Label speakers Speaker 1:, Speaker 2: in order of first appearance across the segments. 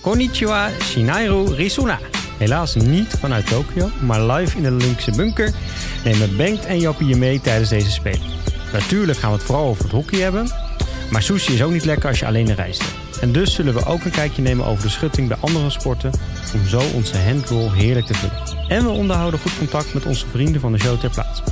Speaker 1: Konnichiwa Shinairu Risuna. Helaas niet vanuit Tokio, maar live in de Olympische bunker nemen Bengt en Jappie je mee tijdens deze Spelen. Natuurlijk gaan we het vooral over het hockey hebben, maar sushi is ook niet lekker als je alleen reist hebt. En dus zullen we ook een kijkje nemen over de schutting bij andere sporten om zo onze handroll heerlijk te vullen. En we onderhouden goed contact met onze vrienden van de show ter plaatse.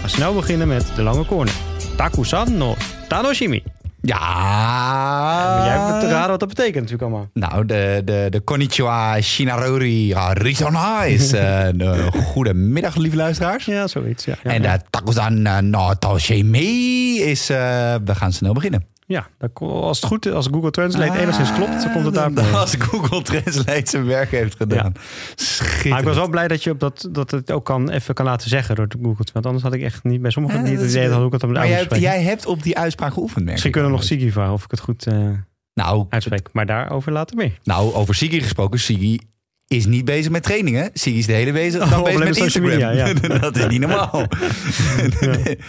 Speaker 1: Maar snel beginnen met de lange corner. Takusan no Tanoshimi.
Speaker 2: Ja. Ah.
Speaker 1: Jij hebt te raden wat dat betekent natuurlijk allemaal.
Speaker 2: Nou, de, de, de konnichiwa Shinarori ja, Rizona is eh, een eh, goedemiddag, lieve luisteraars.
Speaker 1: Ja, zoiets. Ja, ja,
Speaker 2: en
Speaker 1: ja.
Speaker 2: de Takusan eh, no Toshimi is... eh, we gaan snel beginnen.
Speaker 1: Ja, dat kon- als het goed is, als Google Translate enigszins klopt, dan komt het daar.
Speaker 2: Ah, Als Google Translate zijn werk heeft gedaan.
Speaker 1: Maar ik was
Speaker 2: Schitterend.
Speaker 1: wel blij dat je op dat, dat het ook kan, even kan laten zeggen door de Google. Want anders had ik echt niet bij sommigen
Speaker 2: Ja,
Speaker 1: niet
Speaker 2: dat
Speaker 1: het
Speaker 2: is-
Speaker 1: idee Eh, dat hoe ik het aan
Speaker 2: Maar
Speaker 1: moet
Speaker 2: jij hebt,
Speaker 1: uitspreken.
Speaker 2: jij hebt op die uitspraak geoefend, merk
Speaker 1: Misschien
Speaker 2: ik.
Speaker 1: kunnen we nog Sigiva, of ik het goed eh,
Speaker 2: Nou,
Speaker 1: uitspreek. Maar daarover later meer.
Speaker 2: nou, over Sigi gesproken. Sigi is niet bezig met trainingen. Sigi is de hele bezig, dag
Speaker 1: Oh,
Speaker 2: bezig
Speaker 1: alleen
Speaker 2: met
Speaker 1: met social
Speaker 2: Instagram.
Speaker 1: media,
Speaker 2: dat is niet normaal.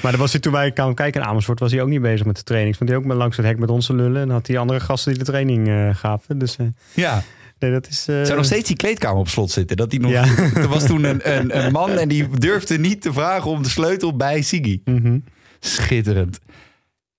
Speaker 1: Maar dan was hij, toen wij kwamen kijken in Amersfoort, was hij ook niet bezig met de training. Vond hij ook maar langs het hek met onze lullen. En had die andere gasten die de training eh, gaven. Dus eh,
Speaker 2: ja.
Speaker 1: nee, dat is... eh,
Speaker 2: Zou nog steeds die kleedkamer op slot zitten? Dat die nog...
Speaker 1: Ja.
Speaker 2: Er was toen een, een, een man en die durfde niet te vragen om de sleutel bij Sigi.
Speaker 1: Mhm.
Speaker 2: Schitterend.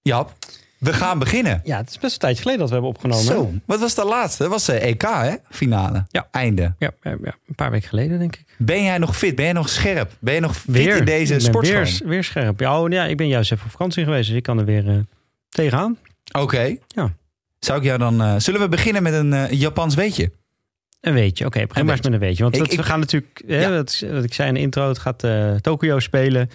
Speaker 2: Jap, we gaan beginnen.
Speaker 1: Ja, het is best een tijdje geleden dat we hebben opgenomen. hè?
Speaker 2: Zo, wat was de laatste? Dat was de EK, hè? Finale.
Speaker 1: Ja.
Speaker 2: Einde.
Speaker 1: Ja, ja, ja, een paar weken geleden denk ik.
Speaker 2: Ben jij nog fit? Ben jij nog scherp? Ben je nog fit in deze
Speaker 1: Ik ben
Speaker 2: sportschool?
Speaker 1: Weer, weer scherp. Ja, oh, ja, ik ben juist even op vakantie geweest, dus ik kan er weer eh, tegenaan.
Speaker 2: Oké.
Speaker 1: Ja.
Speaker 2: Zou ik jou dan... eh, zullen we beginnen met een eh, Japans weetje?
Speaker 1: Een weetje. Oké, begin maar eens met een weetje. Want
Speaker 2: Ik-
Speaker 1: dat-
Speaker 2: ik-
Speaker 1: we gaan natuurlijk, hè,
Speaker 2: Ja.
Speaker 1: wat, wat ik zei in de intro, het gaat eh, Tokio spelen.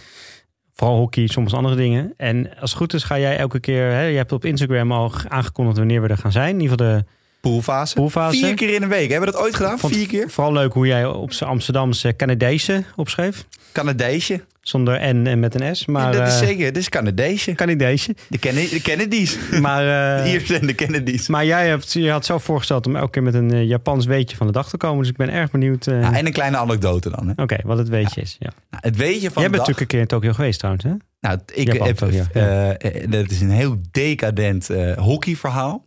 Speaker 1: Vooral hockey, soms andere dingen. En als het goed is ga jij elke keer... Hè, je hebt op Instagram al g- aangekondigd wanneer we er gaan zijn. In ieder geval de
Speaker 2: Poolfase.
Speaker 1: poolfase.
Speaker 2: Vier keer in een week. Hebben we dat ooit gedaan?
Speaker 1: Vond-
Speaker 2: Vier keer?
Speaker 1: Vooral leuk hoe jij op zijn Amsterdamse Canadese opschreef.
Speaker 2: Canadeesje.
Speaker 1: Zonder N en met een S. Maar
Speaker 2: dat
Speaker 1: eh,
Speaker 2: is zeker. Dit is Canadeesje.
Speaker 1: Canadese.
Speaker 2: De, Kenne- de Kennedys.
Speaker 1: Maar,
Speaker 2: De
Speaker 1: eh,
Speaker 2: Iers en de Kennedys.
Speaker 1: Maar jij hebt, je had zelf voorgesteld om elke keer met een eh, Japans weetje van de dag te komen. Dus ik ben erg benieuwd eh,
Speaker 2: Ja, Nou, en een kleine anekdote dan. Hè.
Speaker 1: Oké, wat het weetje is. Ja.
Speaker 2: Nou, het weetje Ah, van
Speaker 1: Jij bent
Speaker 2: de dag...
Speaker 1: natuurlijk een keer in Tokio geweest trouwens. Hè?
Speaker 2: Nou, ik
Speaker 1: Japan,
Speaker 2: heb,
Speaker 1: sorry, ja.
Speaker 2: eh, eh, dat is een heel decadent eh, hockeyverhaal.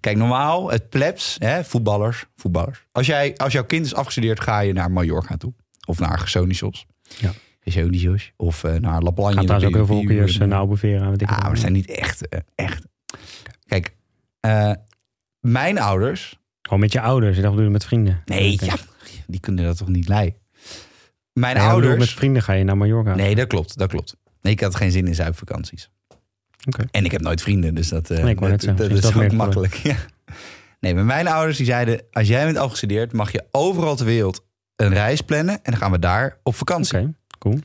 Speaker 2: Kijk, normaal, het plebs, hè, voetballers, voetballers. Als, jij, als jouw kind is afgestudeerd, ga je naar Mallorca toe. Of naar Gersonisos.
Speaker 1: Ja.
Speaker 2: Gersonisos. Of eh, naar La Plagne.
Speaker 1: Gaat trouwens ook heel veel hockeyers eh,
Speaker 2: naar
Speaker 1: naar Oude Beveren. weet ik
Speaker 2: ja,
Speaker 1: het.
Speaker 2: maar het Ah, zijn niet echt. eh, echt. Kijk, eh, mijn ouders.
Speaker 1: Gewoon met je ouders. Dat bedoel je met vrienden.
Speaker 2: Nee,
Speaker 1: Oké.
Speaker 2: ja, die kunnen dat toch niet leiden? Mijn
Speaker 1: Nee, ik bedoel,
Speaker 2: ouders.
Speaker 1: Met vrienden ga je naar Mallorca.
Speaker 2: Nee, dat klopt, dat klopt. Nee, ik had geen zin in zuipvakanties.
Speaker 1: Oké.
Speaker 2: En ik heb nooit vrienden, dus dat, eh,
Speaker 1: Nee, ik wou net
Speaker 2: dat,
Speaker 1: zeggen,
Speaker 2: dat
Speaker 1: is
Speaker 2: is,
Speaker 1: dat
Speaker 2: ook
Speaker 1: meer het
Speaker 2: makkelijk. Ja. Nee, maar mijn ouders die zeiden, als jij bent afgestudeerd, mag je overal ter wereld een reis plannen en dan gaan we daar op vakantie.
Speaker 1: Oké, cool.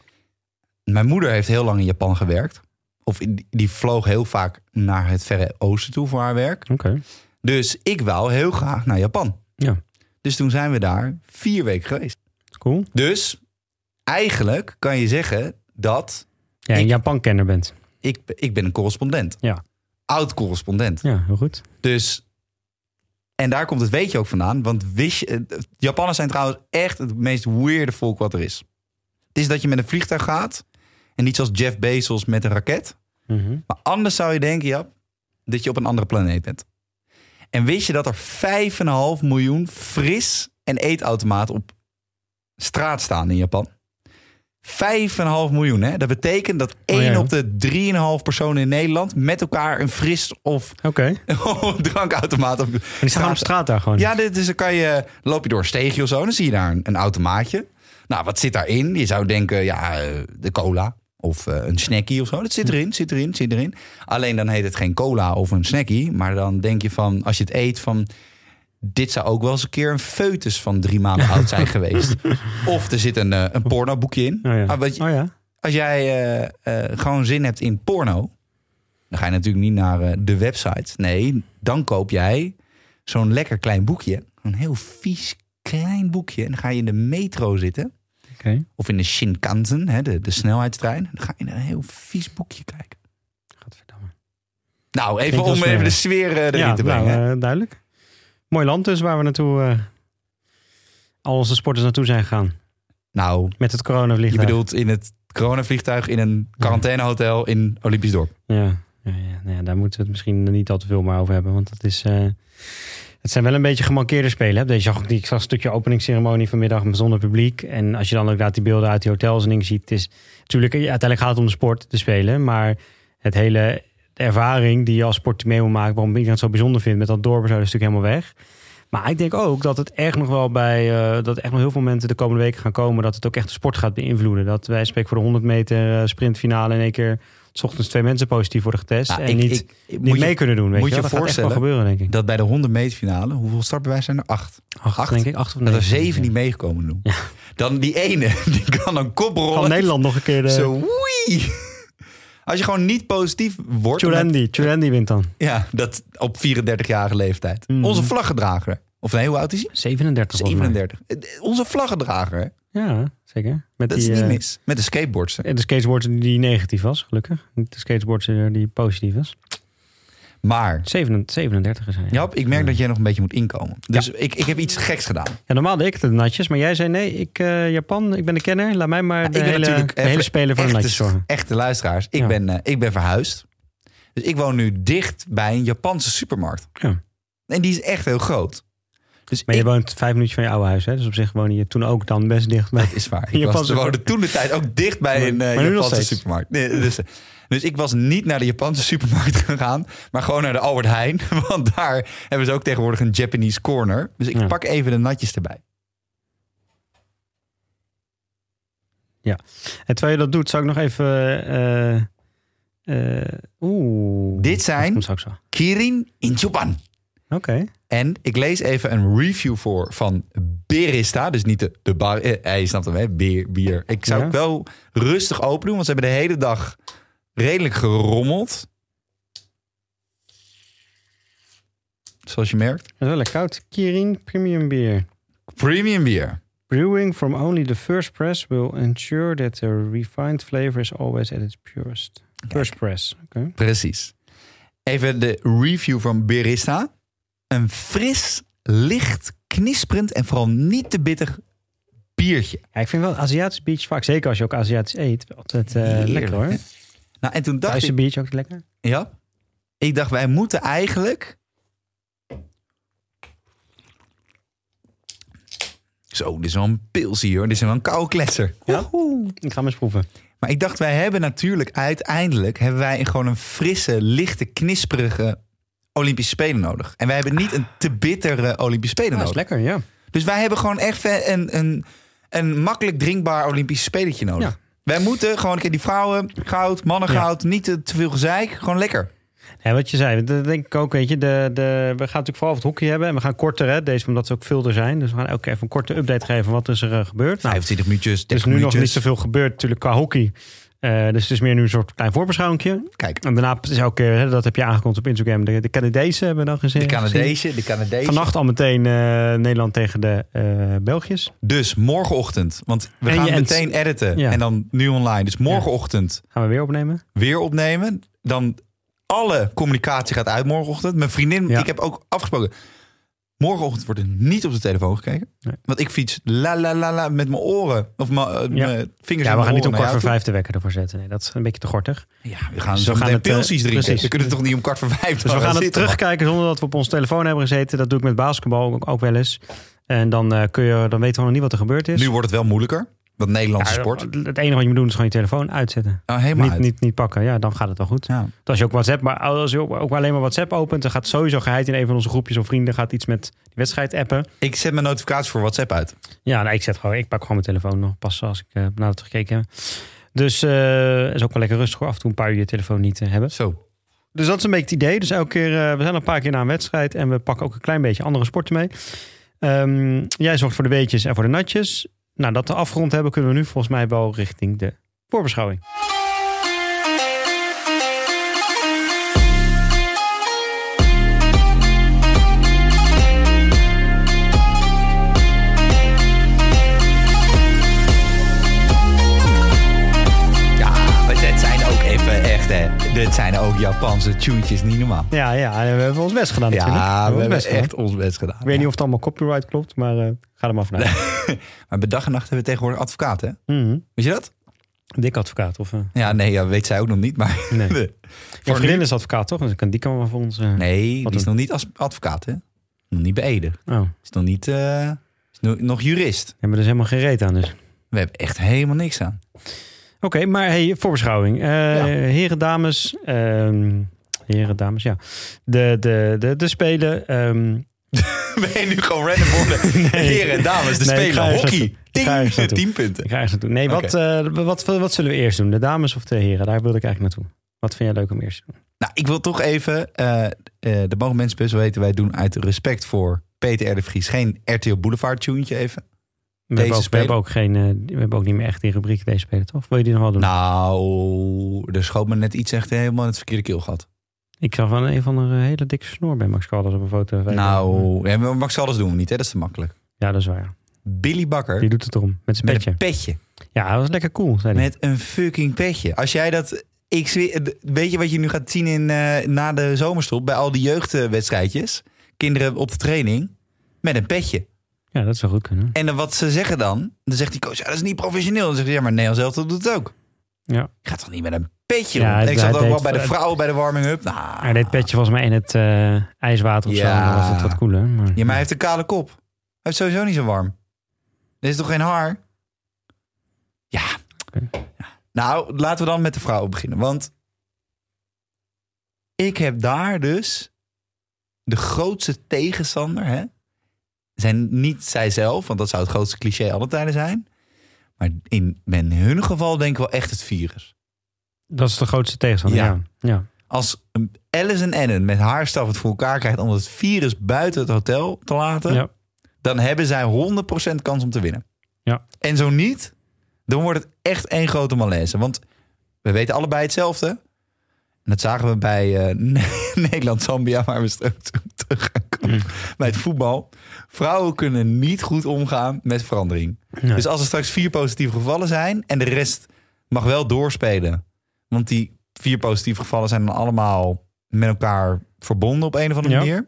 Speaker 2: Mijn moeder heeft heel lang in Japan gewerkt. Of in- die vloog heel vaak naar het Verre Oosten toe voor haar werk.
Speaker 1: Oké.
Speaker 2: Dus ik wou heel graag naar Japan.
Speaker 1: Ja.
Speaker 2: Dus toen zijn we daar vier weken geweest.
Speaker 1: Cool.
Speaker 2: Dus eigenlijk kan je zeggen dat
Speaker 1: Ja, een
Speaker 2: Ik-
Speaker 1: Japan-kenner bent.
Speaker 2: ik, ik ben een correspondent.
Speaker 1: Ja.
Speaker 2: Oud correspondent.
Speaker 1: Ja, heel goed.
Speaker 2: Dus, en daar komt het weetje ook vandaan. Want wist je, eh, Japanners zijn trouwens echt het meest weirde volk wat er is. Het is dat je met een vliegtuig gaat. En niet zoals Jeff Bezos met een raket.
Speaker 1: Mhm.
Speaker 2: Maar anders zou je denken, ja, dat je op een andere planeet bent. En wist je dat er 5,5 miljoen fris- en eetautomaten op straat staan in Japan? 5,5 miljoen, hè? Dat betekent dat
Speaker 1: Oh ja,
Speaker 2: 1
Speaker 1: ja.
Speaker 2: op de 3,5 personen in Nederland met elkaar een fris of
Speaker 1: Oké.
Speaker 2: drankautomaat op
Speaker 1: En die staan op straat daar gewoon.
Speaker 2: Ja, dit is, dan kan je, loop je door een steegje of zo, dan zie je daar een, een automaatje. Nou, wat zit daarin? Je zou denken, ja, eh, de cola of eh, een snackie of zo. Dat
Speaker 1: Hm.
Speaker 2: zit erin, zit erin, zit erin. Alleen dan heet het geen cola of een snackie. Maar dan denk je van, als je het eet van... Dit zou ook wel eens een keer een foetus van drie maanden oud zijn geweest. Of er zit een, eh, een pornoboekje in.
Speaker 1: Oh ja.
Speaker 2: Ah, wat je-
Speaker 1: Oh ja.
Speaker 2: als jij eh, eh, gewoon zin hebt in porno, dan ga je natuurlijk niet naar eh, de website. Nee, dan koop jij zo'n lekker klein boekje. Een heel vies klein boekje. En dan ga je in de metro zitten.
Speaker 1: Oké.
Speaker 2: Of in de Shinkansen, hè, de, de snelheidstrein. Dan ga je naar een heel vies boekje kijken.
Speaker 1: Gadverdamme.
Speaker 2: Nou, even
Speaker 1: Klinkt
Speaker 2: om
Speaker 1: als
Speaker 2: even
Speaker 1: meer.
Speaker 2: de sfeer eh, erin
Speaker 1: ja,
Speaker 2: te brengen.
Speaker 1: Nou, eh, duidelijk. Mooi land dus waar we naartoe... eh, al onze sporters naartoe zijn gegaan. eh,
Speaker 2: nou,
Speaker 1: Met het
Speaker 2: je
Speaker 1: coronavliegtuig.
Speaker 2: bedoelt in het coronavliegtuig in een quarantainehotel in Olympisch dorp.
Speaker 1: Ja, ja, ja, nou ja, daar moeten we het misschien niet al te veel maar over hebben. Want dat is eh, Het zijn wel een beetje gemankeerde spelen. Hè? Deze zag, ik- ik zag een stukje openingsceremonie vanmiddag zonder publiek. En als je dan ook inderdaad die beelden uit die hotels en dingen ziet. Het is natuurlijk, ja, uiteindelijk gaat het om de sport te spelen. Maar het hele de ervaring die je als sport mee moet maken. Waarom iedereen het zo bijzonder vindt met dat dorp en zo. Dat is natuurlijk helemaal weg. Maar ik denk ook dat het echt nog wel bij. eh, dat echt nog heel veel momenten de komende weken gaan komen. Dat het ook echt de sport gaat beïnvloeden. Dat wij spreken voor de 100 meter eh, sprintfinale in één keer. 's ochtends twee mensen positief worden getest.
Speaker 2: Nou,
Speaker 1: en
Speaker 2: ik-
Speaker 1: niet,
Speaker 2: ik- ik-
Speaker 1: niet
Speaker 2: moet je-
Speaker 1: mee kunnen doen. Weet
Speaker 2: moet
Speaker 1: je,
Speaker 2: je
Speaker 1: wel. dat
Speaker 2: voorstellen
Speaker 1: gaat echt wel gebeuren, denk ik.
Speaker 2: Dat bij de 100 meter finale, hoeveel startbewijs zijn er? Acht.
Speaker 1: Acht,
Speaker 2: Acht?
Speaker 1: denk ik. Acht of
Speaker 2: Dat er
Speaker 1: negen, denk
Speaker 2: zeven
Speaker 1: ik.
Speaker 2: niet meegekomen doen. Dan die ene, die kan een kop rollen.
Speaker 1: Van Nederland nog een keer eh, de...
Speaker 2: Zo, woei. Als je gewoon niet positief wordt. met-
Speaker 1: Churendi. Churendi wint dan.
Speaker 2: ja, dat op 34-jarige leeftijd.
Speaker 1: Mm.
Speaker 2: Onze vlaggedrager. Of nee, hoe oud is hij?
Speaker 1: 37 volgens mij.
Speaker 2: 37. Eh, Onze vlaggedrager. hè?
Speaker 1: Ja, zeker. Met
Speaker 2: Dat
Speaker 1: die,
Speaker 2: is niet
Speaker 1: eh,
Speaker 2: mis. Met de skateboardster.
Speaker 1: De skateboardster die negatief was, gelukkig. Niet de skateboardster die positief was.
Speaker 2: Maar,
Speaker 1: 37, 37 is hij. Ja.
Speaker 2: Jap, ik merk dat jij nog een beetje moet inkomen. Dus ik, ik heb iets geks gedaan.
Speaker 1: Ja, normaal deed ik het de natjes, maar jij zei nee, ik, eh, Japan, ik ben de kenner. Laat mij maar de,
Speaker 2: ik ben
Speaker 1: hele,
Speaker 2: natuurlijk
Speaker 1: de hele
Speaker 2: even
Speaker 1: speler van de
Speaker 2: echte,
Speaker 1: natjes zorgen.
Speaker 2: echte dus luisteraars. Ik,
Speaker 1: Ja.
Speaker 2: ben, eh, ik ben verhuisd. Dus ik woon nu dicht bij een Japanse supermarkt.
Speaker 1: Ja.
Speaker 2: En die is echt heel groot. Dus
Speaker 1: Maar
Speaker 2: ik,
Speaker 1: je woont vijf minuutjes van je oude huis, hè? Dus op zich woonde je toen ook dan best dicht bij.
Speaker 2: dat is waar.
Speaker 1: Japanse
Speaker 2: Ik was, we
Speaker 1: supermarkt.
Speaker 2: woonden toen de tijd ook dicht bij
Speaker 1: Maar-
Speaker 2: een eh,
Speaker 1: maar nu nog
Speaker 2: Japanse
Speaker 1: steeds.
Speaker 2: supermarkt. Nee, dus, eh, dus ik was niet naar de Japanse supermarkt gegaan, maar gewoon naar de Albert Heijn. Want daar hebben ze ook tegenwoordig een Japanese corner. Dus ik
Speaker 1: Ja.
Speaker 2: pak even de natjes erbij.
Speaker 1: En terwijl je dat doet, zou ik nog even... eh, eh, Oeh.
Speaker 2: Dit
Speaker 1: Dat
Speaker 2: zijn
Speaker 1: komt straks wel.
Speaker 2: Kirin in Japan.
Speaker 1: Oké.
Speaker 2: En ik lees even een review voor van Berista. Dus niet de, de bar. Eh, je snapt hem, hè? Bier. bier. Ik zou
Speaker 1: Ja.
Speaker 2: het wel rustig open doen, want ze hebben de hele dag redelijk gerommeld. Zoals je merkt.
Speaker 1: Dat is wel lekker koud. Kirin Premium Beer.
Speaker 2: Premium bier.
Speaker 1: Brewing from only the first press will ensure that the refined flavor is always at its purest. First press. Oké.
Speaker 2: Precies. Even de review van Berista. Een fris, licht, knisperend en vooral niet te bitter biertje.
Speaker 1: Ja, ik vind wel Aziatisch biertje vaak, zeker als je ook Aziatisch eet, wel altijd eh,
Speaker 2: Heerlijk.
Speaker 1: lekker hoor.
Speaker 2: Nou, en toen dacht ik...
Speaker 1: Thaise biertje ook lekker.
Speaker 2: Ja. Ik dacht, wij moeten eigenlijk. Zo, dit is wel een pils hier hoor. Dit is wel een koude kletser.
Speaker 1: Ja? Ik ga hem eens proeven.
Speaker 2: Maar ik dacht, wij hebben natuurlijk uiteindelijk hebben wij gewoon een frisse, lichte, knisperige Olympische Spelen nodig. En wij hebben niet een te bittere Olympische Spelen
Speaker 1: Ah, dat is
Speaker 2: nodig.
Speaker 1: lekker, ja.
Speaker 2: Dus wij hebben gewoon echt een, een, een makkelijk drinkbaar Olympisch spelletje nodig.
Speaker 1: Ja.
Speaker 2: Wij moeten gewoon een keer die vrouwen goud, mannen
Speaker 1: Ja.
Speaker 2: goud, niet te te veel gezeik. Gewoon lekker.
Speaker 1: Ja, wat je zei, dat denk ik ook, weet je. De, de, we gaan natuurlijk vooral over het hockey hebben. En we gaan korter, hè, deze omdat ze ook veel er zijn. Dus we gaan elke keer even een korte update geven van wat is er eh, gebeurd. Nou,
Speaker 2: 25 minuutjes, 30
Speaker 1: er is nu nog
Speaker 2: minuutjes.
Speaker 1: niet zoveel gebeurd natuurlijk qua hockey. Eh, dus het is meer nu een soort klein voorbeschouwingje.
Speaker 2: Kijk,
Speaker 1: En daarna is elke keer, hè, dat heb je aangekondigd op Instagram, de, de Canadezen hebben we dan gezien.
Speaker 2: de Canadezen, de
Speaker 1: gezien.
Speaker 2: Canadezen.
Speaker 1: Vannacht al meteen eh, Nederland tegen de eh Belgiërs.
Speaker 2: Dus morgenochtend, want we
Speaker 1: En
Speaker 2: gaan
Speaker 1: je ends.
Speaker 2: meteen editen
Speaker 1: Ja.
Speaker 2: en dan nu online. Dus morgenochtend
Speaker 1: Gaan we weer opnemen.
Speaker 2: weer opnemen. Dan alle communicatie gaat uit morgenochtend. Mijn vriendin,
Speaker 1: Ja.
Speaker 2: ik heb ook afgesproken. Morgenochtend wordt er niet op de telefoon gekeken.
Speaker 1: Nee.
Speaker 2: Want ik fiets la la la la met mijn oren. Of mijn eh, mijn vingers
Speaker 1: Ja,
Speaker 2: in
Speaker 1: we
Speaker 2: mijn
Speaker 1: gaan niet om
Speaker 2: oren
Speaker 1: kwart
Speaker 2: naar
Speaker 1: voor
Speaker 2: jou
Speaker 1: vijf de wekker ervoor zetten. Nee, dat is een beetje te gortig.
Speaker 2: toe. Ja, we gaan
Speaker 1: Dus
Speaker 2: zo
Speaker 1: we gaan
Speaker 2: meteen
Speaker 1: het, eh,
Speaker 2: pilsies drinken.
Speaker 1: precies.
Speaker 2: We kunnen toch niet om kwart voor vijf
Speaker 1: Dus we gaan het
Speaker 2: zitten?
Speaker 1: terugkijken zonder dat we op ons telefoon hebben gezeten. Dat doe ik met basketbal ook, ook wel eens. En dan, eh, kun je, dan weten we nog niet wat er gebeurd is.
Speaker 2: Nu wordt het wel moeilijker. Dat Nederlandse
Speaker 1: Ja,
Speaker 2: sport.
Speaker 1: Het enige wat je moet doen is gewoon je telefoon uitzetten.
Speaker 2: Oh, helemaal
Speaker 1: Niet,
Speaker 2: uit.
Speaker 1: niet, niet pakken, ja, dan gaat het wel goed.
Speaker 2: Ja.
Speaker 1: Want Als je ook WhatsApp, maar als je ook- ook alleen maar WhatsApp opent, dan gaat sowieso geheid in een van onze groepjes of vrienden gaat iets met die wedstrijd appen.
Speaker 2: Ik zet mijn notificatie voor WhatsApp uit.
Speaker 1: Ja, nou, ik zet gewoon, ik pak gewoon mijn telefoon nog pas als ik eh nadat we gekeken hebben. Dus eh is ook wel lekker rustig hoor, af en toe een paar uur je telefoon niet eh, hebben.
Speaker 2: Zo.
Speaker 1: Dus dat is een beetje het idee. Dus elke keer, eh, we zijn een paar keer na een wedstrijd en we pakken ook een klein beetje andere sporten mee. Ehm, jij zorgt voor de weetjes en voor de natjes. Nou, dat we afgerond hebben, kunnen we nu volgens mij wel richting de voorbeschouwing.
Speaker 2: Ja, maar dit zijn ook even echt, hè. Dit zijn ook Japanse tuentjes, niet normaal.
Speaker 1: Ja, ja, en we hebben ons best gedaan natuurlijk.
Speaker 2: Ja, we
Speaker 1: ons
Speaker 2: hebben
Speaker 1: best gedaan.
Speaker 2: echt ons best gedaan.
Speaker 1: Ik weet niet of het allemaal copyright klopt, maar eh, ga er maar vanuit.
Speaker 2: Maar bij dag en nacht hebben we tegenwoordig advocaat, hè?
Speaker 1: Mhm.
Speaker 2: Weet je dat?
Speaker 1: Dik advocaat, of... eh
Speaker 2: Ja, nee, ja, weet zij ook nog niet, maar...
Speaker 1: nee.
Speaker 2: Nee,
Speaker 1: Jouw vriendin is advocaat, toch? Dus kan- die kan wel voor ons... eh,
Speaker 2: nee
Speaker 1: Wat
Speaker 2: die is nog niet als advocaat, hè? Nog niet beëden.
Speaker 1: Oh,
Speaker 2: Is nog niet... eh, is nog, nog jurist.
Speaker 1: hebben we dus helemaal geen reet aan dus.
Speaker 2: We hebben echt helemaal niks aan.
Speaker 1: Oké, maar hey, voorbeschouwing. Eh,
Speaker 2: Ja.
Speaker 1: Heren, dames. ehm, heren, dames, ja. De, de, de, de spelen. ehm,
Speaker 2: Ben je nu gewoon random worden? Heren en dames, de
Speaker 1: Nee, ik ga
Speaker 2: spelen
Speaker 1: ergens
Speaker 2: hockey.
Speaker 1: naartoe. Ik ga ergens
Speaker 2: Tien,
Speaker 1: naartoe.
Speaker 2: tien punten.
Speaker 1: ik ga ergens naartoe. Nee, wat, eh, wat, wat, wat zullen we eerst doen? De dames of de heren? Daar wilde ik eigenlijk naartoe. Wat vind jij leuk om eerst te doen?
Speaker 2: Nou, ik wil toch even, eh eh de mogen mensen best wel weten, wij doen uit respect voor Peter R. de Vries geen RTL Boulevard tuentje even.
Speaker 1: We,
Speaker 2: Deze
Speaker 1: hebben ook, we,
Speaker 2: spelen?
Speaker 1: hebben ook geen, eh, we hebben ook niet meer echt die rubriek deze spelen, toch? Wil je die nog wel doen?
Speaker 2: Nou, er schoot me net iets echt helemaal in het verkeerde keelgat.
Speaker 1: Ik zag wel een van de eh, hele dikke snor bij Max Caldas op een foto.
Speaker 2: Nou, ja, maar Max Alles doen we niet, hè? dat is te makkelijk.
Speaker 1: Ja, dat is waar.
Speaker 2: Billy Bakker
Speaker 1: Die doet het erom. Met zijn
Speaker 2: met
Speaker 1: petje.
Speaker 2: een petje.
Speaker 1: Ja, dat was lekker cool, zei hij.
Speaker 2: Met een fucking petje. Als jij dat. Ik zweer- d- weet je wat je nu gaat zien in, eh, na de zomerstop bij al die jeugdwedstrijdjes? Kinderen op de training met een petje.
Speaker 1: Ja, dat zou goed kunnen.
Speaker 2: En dan wat ze zeggen dan, dan zegt die coach, ja, dat is niet professioneel. Dan zegt hij, ja, maar Nederlands elftal doet het ook.
Speaker 1: Ja.
Speaker 2: Je gaat toch niet met een petje
Speaker 1: Ja,
Speaker 2: rond?
Speaker 1: het-
Speaker 2: En ik zag
Speaker 1: het
Speaker 2: dat ook wel
Speaker 1: deed-
Speaker 2: bij de
Speaker 1: het-
Speaker 2: vrouwen bij de warming-up. Nou,
Speaker 1: Hij deed petje volgens mij in het eh, ijswater of zo.
Speaker 2: Ja.
Speaker 1: Dan was het wat cooler. Maar...
Speaker 2: Ja, maar hij heeft een kale kop. Hij heeft sowieso niet zo warm. Er is toch geen haar? Ja.
Speaker 1: Oké.
Speaker 2: Ja. Nou, laten we dan met de vrouwen beginnen. Want ik heb daar dus de grootste tegenstander. Hè? Zijn niet zijzelf, want dat zou het grootste cliché alle tijden zijn. Maar in, in hun geval denk ik wel echt het virus.
Speaker 1: Dat is de grootste tegenstander,
Speaker 2: Ja.
Speaker 1: ja. ja.
Speaker 2: Als Alison Ennen met haar staf het voor elkaar krijgt om het virus buiten het hotel te laten.
Speaker 1: Ja.
Speaker 2: dan hebben zij 100% kans om te winnen.
Speaker 1: Ja.
Speaker 2: En zo niet, dan wordt het echt één grote malaise. Want we weten allebei hetzelfde. En dat zagen we bij eh, Ne- Nederland-Zambia, waar we straks toe terug gaan komen.
Speaker 1: Mm.
Speaker 2: Bij het voetbal. Vrouwen kunnen niet goed omgaan met verandering.
Speaker 1: Nee.
Speaker 2: Dus als er straks vier positieve gevallen zijn en de rest mag wel doorspelen. Want die vier positieve gevallen zijn dan allemaal met elkaar verbonden op een of andere
Speaker 1: Ja.
Speaker 2: manier.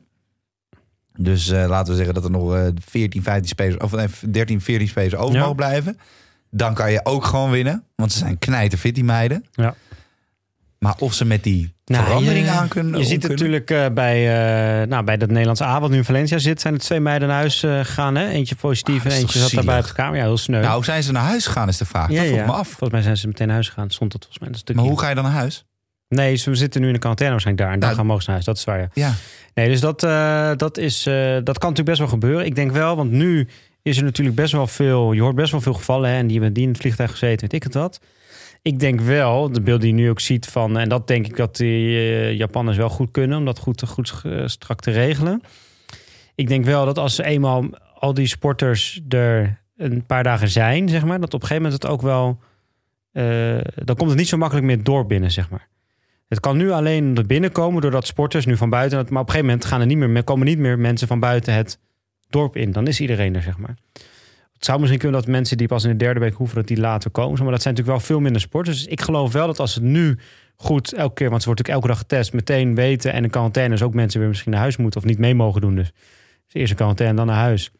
Speaker 2: Dus eh, laten we zeggen dat er nog eh 14, 15 spelers, of nee, 13, 14 spelers over
Speaker 1: Ja.
Speaker 2: mogen blijven. Dan kan je ook gewoon winnen, want ze zijn knijterfit die meiden.
Speaker 1: Ja.
Speaker 2: Maar of ze met die
Speaker 1: Nou,
Speaker 2: verandering
Speaker 1: je-
Speaker 2: aan kunnen...
Speaker 1: Je
Speaker 2: om
Speaker 1: ziet
Speaker 2: kunnen-
Speaker 1: natuurlijk eh, bij, eh, nou, bij dat Nederlands A, wat nu in Valencia zit, zijn er twee meiden naar huis eh, gegaan. Hè? Eentje positief
Speaker 2: Ah, dat
Speaker 1: en
Speaker 2: is
Speaker 1: eentje
Speaker 2: toch
Speaker 1: zat daar
Speaker 2: zielig.
Speaker 1: buiten de kamer. Ja, heel sneu.
Speaker 2: Nou, hoe zijn ze naar huis gegaan is de vraag.
Speaker 1: ja,
Speaker 2: dat vroeg
Speaker 1: ja.
Speaker 2: me af.
Speaker 1: Volgens mij zijn ze meteen naar huis gegaan. Stond dat volgens mij een stukje.
Speaker 2: Maar hoe ga je dan naar huis?
Speaker 1: Nee, ze zitten nu in de quarantaine waarschijnlijk daar. En dan
Speaker 2: Nou,
Speaker 1: gaan mogen ze naar huis. Dat is waar, ja.
Speaker 2: Ja.
Speaker 1: Nee, dus dat, eh, dat, is, eh, dat kan natuurlijk best wel gebeuren. Ik denk wel, want nu is er natuurlijk best wel veel... Je hoort best wel veel gevallen hè, en die hebben die in het vliegtuig gezeten, weet ik het wat. Ik denk wel, de beelden die je nu ook ziet van... En dat denk ik dat die eh, Japanners wel goed kunnen... om dat goed, goed eh, strak te regelen. Ik denk wel dat als ze eenmaal al die sporters er een paar dagen zijn, zeg maar... dat op een gegeven moment het ook wel... eh, dan komt het niet zo makkelijk meer door binnen, zeg maar. Het kan nu alleen er binnenkomen doordat sporters nu van buiten... Maar op een gegeven moment gaan er niet meer, komen niet meer mensen van buiten het dorp in. Dan is iedereen er, zeg maar. Het zou misschien kunnen dat mensen die pas in de derde week hoeven... dat die later komen. Maar dat zijn natuurlijk wel veel minder sporters. Dus ik geloof wel dat als het nu goed elke keer... want ze wordt natuurlijk elke dag getest, meteen weten... en in quarantaine dus ook mensen weer misschien naar huis moeten... of niet mee mogen doen dus. Dus eerst een quarantaine, dan naar huis.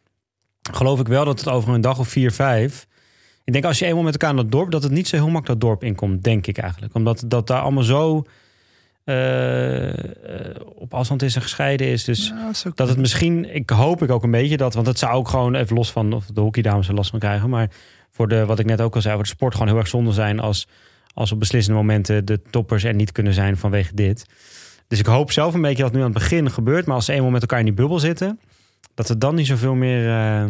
Speaker 1: Geloof ik wel dat het over een dag of vier, vijf... Ik denk als je eenmaal met elkaar naar het dorp... dat het niet zo heel makkelijk dat dorp inkomt, denk ik eigenlijk. Omdat dat daar allemaal zo eh, eh, op afstand is en gescheiden is. Dus
Speaker 2: Ja, dat is ook-
Speaker 1: dat het misschien, ik hoop ik ook een beetje dat, want het zou ook gewoon even los van of de hockeydames er last van krijgen, maar voor de, wat ik net ook al zei, voor de sport gewoon heel erg zonde zijn als, als op beslissende momenten de toppers er niet kunnen zijn vanwege dit. Dus ik hoop zelf een beetje dat het nu aan het begin gebeurt, maar als ze eenmaal met elkaar in die bubbel zitten, dat er dan niet zoveel meer. eh,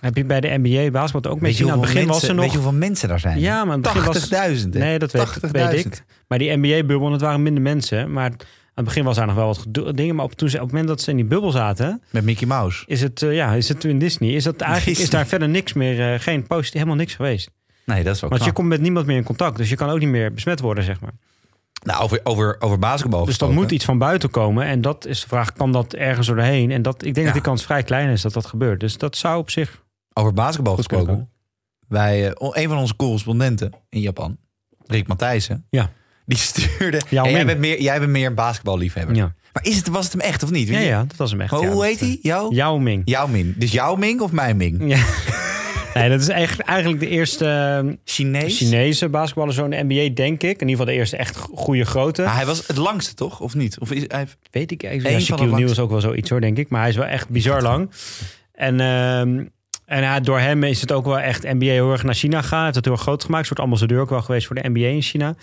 Speaker 1: heb je bij de NBA basketbal ook
Speaker 2: Weet
Speaker 1: met
Speaker 2: je
Speaker 1: je? Aan het
Speaker 2: hoeveel
Speaker 1: begin was
Speaker 2: mensen-
Speaker 1: er nog.
Speaker 2: Weet je hoeveel mensen daar zijn?
Speaker 1: ja, maar aan het begin was
Speaker 2: 80.000. hè?
Speaker 1: Nee, dat weet, dat weet
Speaker 2: 80.000.
Speaker 1: ik. Maar die NBA-bubbel, dat waren minder mensen. Maar aan het begin was daar nog wel wat gedo- dingen. Maar op, toen ze, op het moment dat ze in die bubbel zaten,
Speaker 2: Met Mickey Mouse.
Speaker 1: is het, eh, ja, is het in Disney. Is dat eigenlijk is
Speaker 2: Disney.
Speaker 1: daar verder niks meer, eh, geen post, helemaal niks geweest.
Speaker 2: Nee, dat is wel
Speaker 1: Want je
Speaker 2: knap.
Speaker 1: komt met niemand meer in contact. Dus je kan ook niet meer besmet worden, zeg maar.
Speaker 2: Nou, over, over, over basketbal
Speaker 1: Dus dat
Speaker 2: gesproken.
Speaker 1: moet iets van buiten komen. En dat is de vraag, kan dat ergens doorheen? En dat, ik denk
Speaker 2: Ja.
Speaker 1: dat die kans vrij klein is dat dat gebeurt. Dus dat zou op zich
Speaker 2: Over basketbal
Speaker 1: goed kunnen
Speaker 2: gesproken.
Speaker 1: komen.
Speaker 2: Wij, eh, een van onze correspondenten in Japan, Rick Matthijssen,
Speaker 1: Ja.
Speaker 2: die stuurde...
Speaker 1: Jouw
Speaker 2: en jij,
Speaker 1: Ming.
Speaker 2: bent meer, jij bent meer een basketballiefhebber.
Speaker 1: Ja.
Speaker 2: Maar is het, was het hem echt of niet?
Speaker 1: Ja, ja, dat was hem echt.
Speaker 2: Maar
Speaker 1: ja,
Speaker 2: hoe
Speaker 1: dat,
Speaker 2: heet
Speaker 1: eh,
Speaker 2: hij? Jouw?
Speaker 1: Yao Ming.
Speaker 2: Jouw Ming. Dus jouw Ming of mijn Ming?
Speaker 1: Ja. Nee, dat is echt, eigenlijk de eerste eh,
Speaker 2: Chinees.
Speaker 1: Chinese basketballer zo in de NBA, denk ik. In ieder geval de eerste echt go- goede grote.
Speaker 2: Maar hij was het langste, toch? Of niet? Of is, hij,
Speaker 1: Weet ik
Speaker 2: Eén
Speaker 1: eigenlijk. Ja,
Speaker 2: van
Speaker 1: Shaquille
Speaker 2: de
Speaker 1: O'Neal
Speaker 2: langste.
Speaker 1: is ook wel zoiets hoor, denk ik. Maar hij is wel echt bizar lang. En, ehm, en ja, door hem is het ook wel echt NBA heel erg naar China gegaan. Hij heeft het heel erg groot gemaakt. Een soort ambassadeur ook wel geweest voor de NBA in China.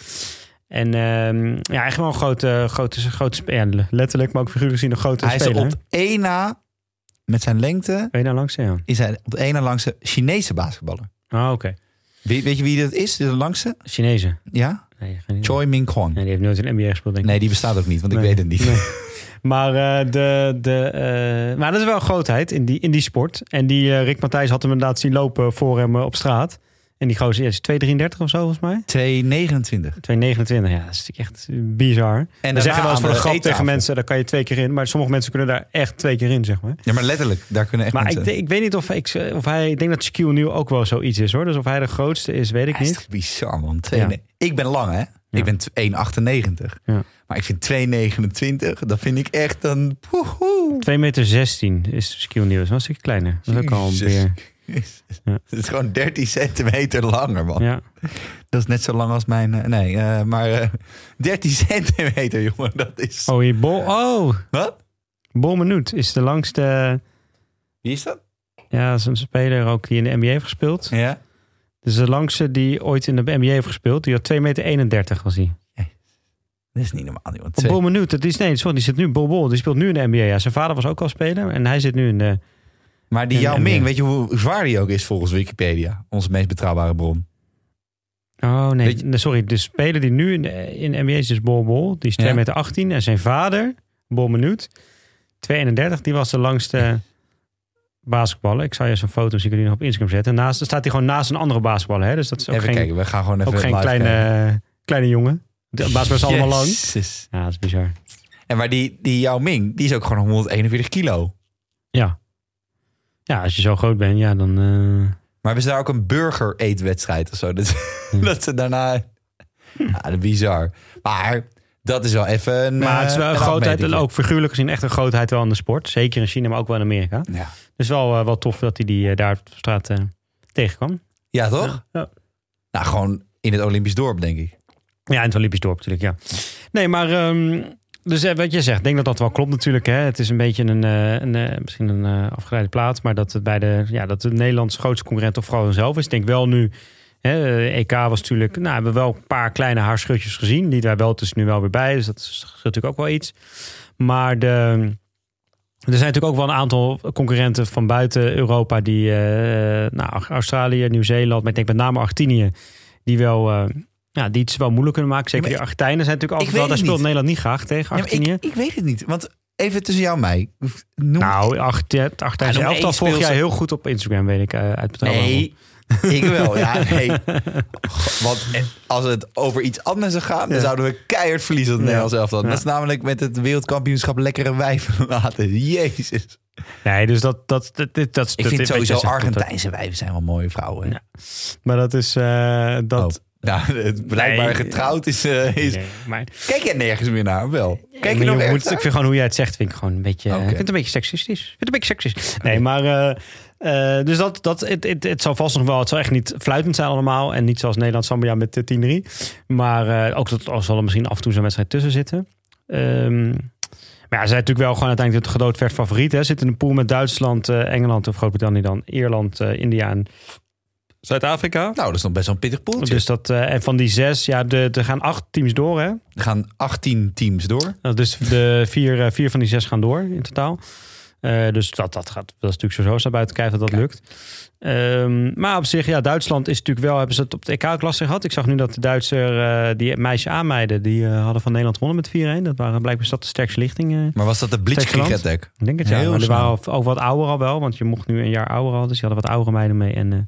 Speaker 1: En ehm, ja, echt wel een grote, grote, grote spe- ja, letterlijk, maar ook figuurlijk gezien een grote
Speaker 2: hij is
Speaker 1: speler.
Speaker 2: op één na, met zijn lengte,
Speaker 1: Ben je nou langs? Ja.
Speaker 2: is hij op één na langste Chinese basketballer.
Speaker 1: Ah, oké.
Speaker 2: Weet, weet je wie dat is? De langste?
Speaker 1: Chinezen.
Speaker 2: Ja?
Speaker 1: Nee, geen idee.
Speaker 2: Choi Ming
Speaker 1: Nee,
Speaker 2: Kwon.
Speaker 1: die heeft nooit in de NBA gespeeld, denk ik.
Speaker 2: Nee, die bestaat ook niet, want ik
Speaker 1: Nee.
Speaker 2: weet het niet.
Speaker 1: Nee. Maar, eh, de, de, eh, maar dat is wel een grootheid in die, in die sport. En die eh, Rick Matthijs had hem inderdaad zien lopen voor hem eh, op straat. En die gozer ja, is 2,33 of zo volgens mij.
Speaker 2: 229.
Speaker 1: 2,29, ja, dat is natuurlijk echt bizar. En
Speaker 2: daarna
Speaker 1: dan zeggen we als
Speaker 2: aan
Speaker 1: voor de
Speaker 2: de
Speaker 1: grap tegen
Speaker 2: eettafel.
Speaker 1: mensen, daar kan je twee keer in. Maar sommige mensen kunnen daar echt twee keer in, zeg maar.
Speaker 2: Ja, maar letterlijk, daar kunnen echt
Speaker 1: Maar ik,
Speaker 2: mensen...
Speaker 1: denk- ik weet niet of, ik, eh, of hij... Ik denk dat Shaquille O'Neal ook wel zoiets is, hoor. Dus of hij de grootste is, weet ik
Speaker 2: Hij is
Speaker 1: niet.
Speaker 2: toch bizar, man.
Speaker 1: Ja.
Speaker 2: 2,9. Ik ben lang, hè? Ik ben t- 1,98.
Speaker 1: Ja.
Speaker 2: Maar ik vind 2,29, dat vind ik echt een... Woehoe.
Speaker 1: 2,16 meter is Shaquille O'Neal. Dus Dat was een kleiner. Dat is ook al
Speaker 2: Jezus.
Speaker 1: weer... Ja.
Speaker 2: Het is gewoon 13 centimeter langer, man.
Speaker 1: Ja.
Speaker 2: Dat is net zo lang als mijn... eh, nee, eh, maar eh 13 centimeter, jongen. Dat is...
Speaker 1: Oh, hier, Bol... Oh,
Speaker 2: Wat?
Speaker 1: Bol Minuut is de langste...
Speaker 2: Wie is dat?
Speaker 1: Ja, dat is een speler ook die in de NBA heeft gespeeld.
Speaker 2: Ja.
Speaker 1: Dus de langste die ooit in de NBA heeft gespeeld, die had 2,31 meter was hij.
Speaker 2: Dat is niet normaal, jongen.
Speaker 1: Op
Speaker 2: Twee-
Speaker 1: Bol Minuut, dat is nee, sorry, die zit nu Bol Bol, die speelt nu in de NBA. Ja, zijn vader was ook al speler en hij zit nu in de.
Speaker 2: Maar die
Speaker 1: En-
Speaker 2: Yao
Speaker 1: en-
Speaker 2: Ming, weet je hoe zwaar die ook is volgens Wikipedia? Onze meest betrouwbare bron.
Speaker 1: Oh nee,
Speaker 2: Weet je-
Speaker 1: nee, sorry, de speler die nu in de, in de NBA is, is Bol Bol, die is 2,18 meter
Speaker 2: Ja.
Speaker 1: en zijn vader Bol Minuut 2,31, die was de langste basketballer. Ik zal je eens een foto zien, kun je nog op Instagram zetten. Naast, dan staat hij gewoon naast een andere basketballer, hè? Dus dat is ook
Speaker 2: Even
Speaker 1: geen,
Speaker 2: kijken, we gaan gewoon even
Speaker 1: ook geen
Speaker 2: live kijken.
Speaker 1: kleine, kleine jongen. De basketballers zijn allemaal lang.
Speaker 2: Jezus.
Speaker 1: Ja, dat is bizar.
Speaker 2: En maar die, die Yao Ming, die is ook gewoon 141 kilo.
Speaker 1: Ja. Ja, als je zo groot bent, ja, dan... eh,
Speaker 2: Maar we ze daar ook een burger-eetwedstrijd of zo? Dat,
Speaker 1: Hm.
Speaker 2: dat ze daarna... Ja, dat is bizar. Maar dat is wel even een...
Speaker 1: Maar het is wel
Speaker 2: eh,
Speaker 1: een grootheid, en
Speaker 2: afmeting.
Speaker 1: ook figuurlijk gezien echt een grootheid wel aan de sport. Zeker in China, maar ook wel in Amerika.
Speaker 2: Ja,
Speaker 1: Dus wel, eh, wel tof dat hij die eh, daar op straat eh, tegenkwam.
Speaker 2: ja toch?
Speaker 1: Ja.
Speaker 2: Nou, gewoon in het Olympisch dorp, denk ik.
Speaker 1: Ja, in het Olympisch dorp natuurlijk, ja. Nee, maar... ehm, dus eh, wat je zegt, ik denk dat dat wel klopt natuurlijk. Hè. Het is een beetje een, eh, een eh, misschien een eh, afgeleide plaats. Maar dat het bij de, ja, dat de Nederlands grootste concurrent toch vooral zelf is. Ik denk wel nu, hè, eh, EK was natuurlijk... Nou, we hebben wel een paar kleine haarschutjes gezien. Die daar wel tussen nu wel weer bij. Dus dat is natuurlijk ook wel iets. Maar de... Er zijn natuurlijk ook wel een aantal concurrenten van buiten Europa, die eh, nou, Australië, Nieuw-Zeeland, maar ik denk met name Argentinië, die wel eh, ja, die het wel moeilijk kunnen maken. Zeker
Speaker 2: Ja, maar
Speaker 1: die Argentijnen zijn natuurlijk
Speaker 2: ik
Speaker 1: altijd wel,
Speaker 2: weet
Speaker 1: daar speelt
Speaker 2: het niet.
Speaker 1: Nederland niet graag tegen
Speaker 2: Ja, maar ik,
Speaker 1: Argentinië.
Speaker 2: ik weet het niet. Want even tussen jou en mij. Noem,
Speaker 1: nou, acht, het Argentijnse
Speaker 2: Ja, noem
Speaker 1: elftal
Speaker 2: één
Speaker 1: volg jij
Speaker 2: speelster.
Speaker 1: heel goed op Instagram, weet ik, eh, uit betrouwbare bron.
Speaker 2: Nee, ik wel. Ja, nee. Want eh, als het over iets anders zou gaan, dan
Speaker 1: Ja.
Speaker 2: zouden we keihard verliezen op het
Speaker 1: Ja.
Speaker 2: Nederlands elftal.
Speaker 1: Ja.
Speaker 2: Dat is namelijk met het wereldkampioenschap lekkere wijven laten. Jezus.
Speaker 1: Nee, dus dat, dat, dat, dat, dat
Speaker 2: Ik vind sowieso
Speaker 1: Argentijn.
Speaker 2: Argentijnse wijven zijn wel mooie vrouwen.
Speaker 1: Ja, Maar dat is eh, dat.
Speaker 2: Oh. Nou, het blijkbaar
Speaker 1: Nee.
Speaker 2: getrouwd is, eh, is...
Speaker 1: Nee, maar
Speaker 2: Kijk je nergens meer naar, wel.
Speaker 1: Ja,
Speaker 2: Kijk je
Speaker 1: maar
Speaker 2: nog
Speaker 1: je
Speaker 2: ergens
Speaker 1: moet, Ik
Speaker 2: naar?
Speaker 1: vind gewoon hoe jij het zegt, vind ik gewoon een beetje. eh,
Speaker 2: Oké.
Speaker 1: Ik vind het een beetje seksistisch. Ik vind het een beetje seksistisch. Nee, maar. eh, eh, dus dat, dat, het, het, het zal vast nog wel, het zal echt niet fluitend zijn allemaal. En niet zoals Nederland Sambia met eh, 10-3. Maar eh, ook dat er zal er misschien af en toe zo'n wedstrijd tussen zitten. Ehm, maar ja, ze zijn natuurlijk wel gewoon uiteindelijk het gedoodverd favoriet. Hè. Zitten in een pool met Duitsland, eh, Engeland of Groot-Brittannië dan. Ierland, eh, India en Zuid-Afrika.
Speaker 2: Nou, dat is nog best wel een pittig poeltje.
Speaker 1: Dus dat, eh, en van die zes, ja, de- er gaan acht teams door hè.
Speaker 2: Er gaan 18 teams door.
Speaker 1: Nou, dus de vier, eh, vier van die zes gaan door in totaal. Eh, dus dat, dat, gaat, dat is natuurlijk sowieso naar buiten kijken dat dat lukt. Ehm, maar op zich, ja, Duitsland is natuurlijk wel... Hebben ze het E op de EK-klasse gehad? Ik zag nu dat de Duitser, eh, die meisje aanmeiden... die eh, hadden van Nederland gewonnen met 4-1. Dat waren blijkbaar is dat de sterkste lichting. eh.
Speaker 2: Maar was dat de blitzkrieg
Speaker 1: Griekenland?
Speaker 2: attack?
Speaker 1: Ik denk het ja.
Speaker 2: Heel
Speaker 1: Maar die
Speaker 2: snel.
Speaker 1: waren al- ook wat ouder al wel, want je mocht nu een jaar ouder al. Dus die hadden wat oudere meiden mee en eh,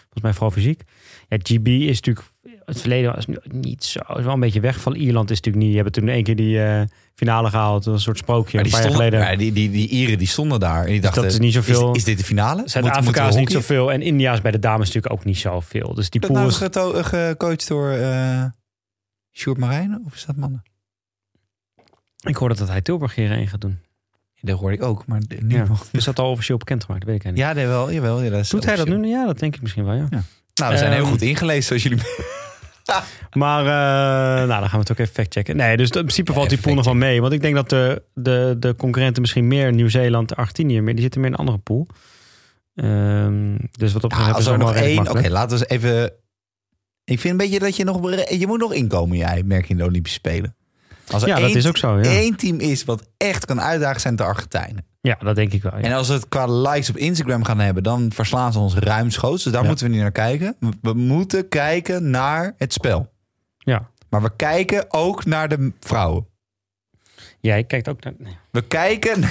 Speaker 1: volgens mij vooral fysiek. Ja, GB is natuurlijk, het verleden was nu niet zo, is wel een beetje weg van Ierland is natuurlijk niet. Je hebt toen één keer die eh, finale gehaald, dat was een soort sprookje
Speaker 2: Maar
Speaker 1: een
Speaker 2: die,
Speaker 1: paar jaar
Speaker 2: stonden,
Speaker 1: geleden.
Speaker 2: maar die, die, die Ieren die stonden daar en die dachten,
Speaker 1: dat is niet zoveel-
Speaker 2: eh, is, is dit de finale?
Speaker 1: Zuid-Afrika is
Speaker 2: Moeten-
Speaker 1: niet
Speaker 2: moeten we hockeyen?
Speaker 1: zoveel en India is bij de dames natuurlijk ook niet zoveel. Dus die
Speaker 2: Dat
Speaker 1: pool
Speaker 2: nou
Speaker 1: is,
Speaker 2: geto- eh, gecoacht door eh Sjoerd Marijnen of is dat mannen?
Speaker 1: ik hoorde dat hij Tilburg hierheen gaat doen.
Speaker 2: Dat hoorde ik ook, maar de- nu
Speaker 1: Ja.
Speaker 2: nog.
Speaker 1: Is dat al officieel bekendgemaakt? Dat weet ik eigenlijk
Speaker 2: Ja, dat wel, jawel. Ja, dat is
Speaker 1: niet. Doet hij dat
Speaker 2: officieel.
Speaker 1: nu? Ja, dat denk ik misschien wel, ja.
Speaker 2: Nou, we zijn heel
Speaker 1: Ehm,
Speaker 2: goed ingelezen, zoals jullie
Speaker 1: Maar eh, nou, dan gaan we het ook even factchecken. Nee, dus in principe valt die
Speaker 2: even
Speaker 1: pool nog wel mee. Want ik denk dat de, de, de concurrenten misschien meer Nieuw-Zeeland, Argentinië, meer, die zitten meer in een andere pool. Ehm, dus wat op zich
Speaker 2: Ah,
Speaker 1: hebben
Speaker 2: als
Speaker 1: ze allemaal
Speaker 2: er nog
Speaker 1: redelijk
Speaker 2: één. Oké,
Speaker 1: makkelijk.
Speaker 2: laten we eens even. Ik vind een beetje dat je nog. bere- Je moet nog inkomen, jij merk je in de Olympische Spelen. Als er
Speaker 1: Ja,
Speaker 2: één,
Speaker 1: dat is ook zo. Ja,
Speaker 2: één team is wat echt kan uitdagen, zijn het de Argentijnen.
Speaker 1: ja dat denk ik wel. ja.
Speaker 2: En als we het qua likes op Instagram gaan hebben, dan verslaan ze ons ruimschoots. Dus daar
Speaker 1: Ja.
Speaker 2: moeten we niet naar kijken. We- We moeten kijken naar het spel.
Speaker 1: Ja.
Speaker 2: Maar we kijken ook naar de vrouwen.
Speaker 1: Jij kijkt ook naar... nee.
Speaker 2: We kijken.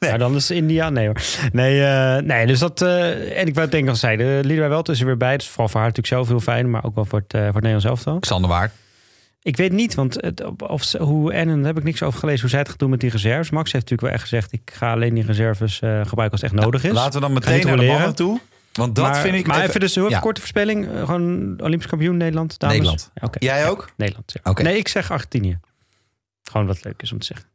Speaker 1: Ja, dan is India. Nee hoor. Nee, eh, nee dus dat... eh, en ik wou denk al zei, de Lidwij wel tussen weer bij. Dus vooral voor haar natuurlijk zelf heel fijn. Maar ook wel voor het, eh, voor het Nederlands elftal.
Speaker 2: Xander Waard.
Speaker 1: Ik weet niet, want het, of, of ze- hoe en daar heb ik niks over gelezen hoe zij het gaat doen met die reserves. Max heeft natuurlijk wel echt gezegd: ik ga alleen die reserves eh, gebruiken als het echt nodig is.
Speaker 2: Laten we dan
Speaker 1: Gaan
Speaker 2: meteen
Speaker 1: niet
Speaker 2: naar de
Speaker 1: roleren.
Speaker 2: mannen toe. Want Nou, dat
Speaker 1: maar,
Speaker 2: vind ik.
Speaker 1: Maar even, dus heel even
Speaker 2: ja.
Speaker 1: korte voorspelling: Eh, gewoon Olympisch kampioen Nederland. Dames.
Speaker 2: Nederland.
Speaker 1: Ja, oké.
Speaker 2: Jij
Speaker 1: Ja,
Speaker 2: ook?
Speaker 1: Nederland. ja.
Speaker 2: Oké.
Speaker 1: Nee, ik zeg Argentinië. Gewoon wat leuk is om te zeggen.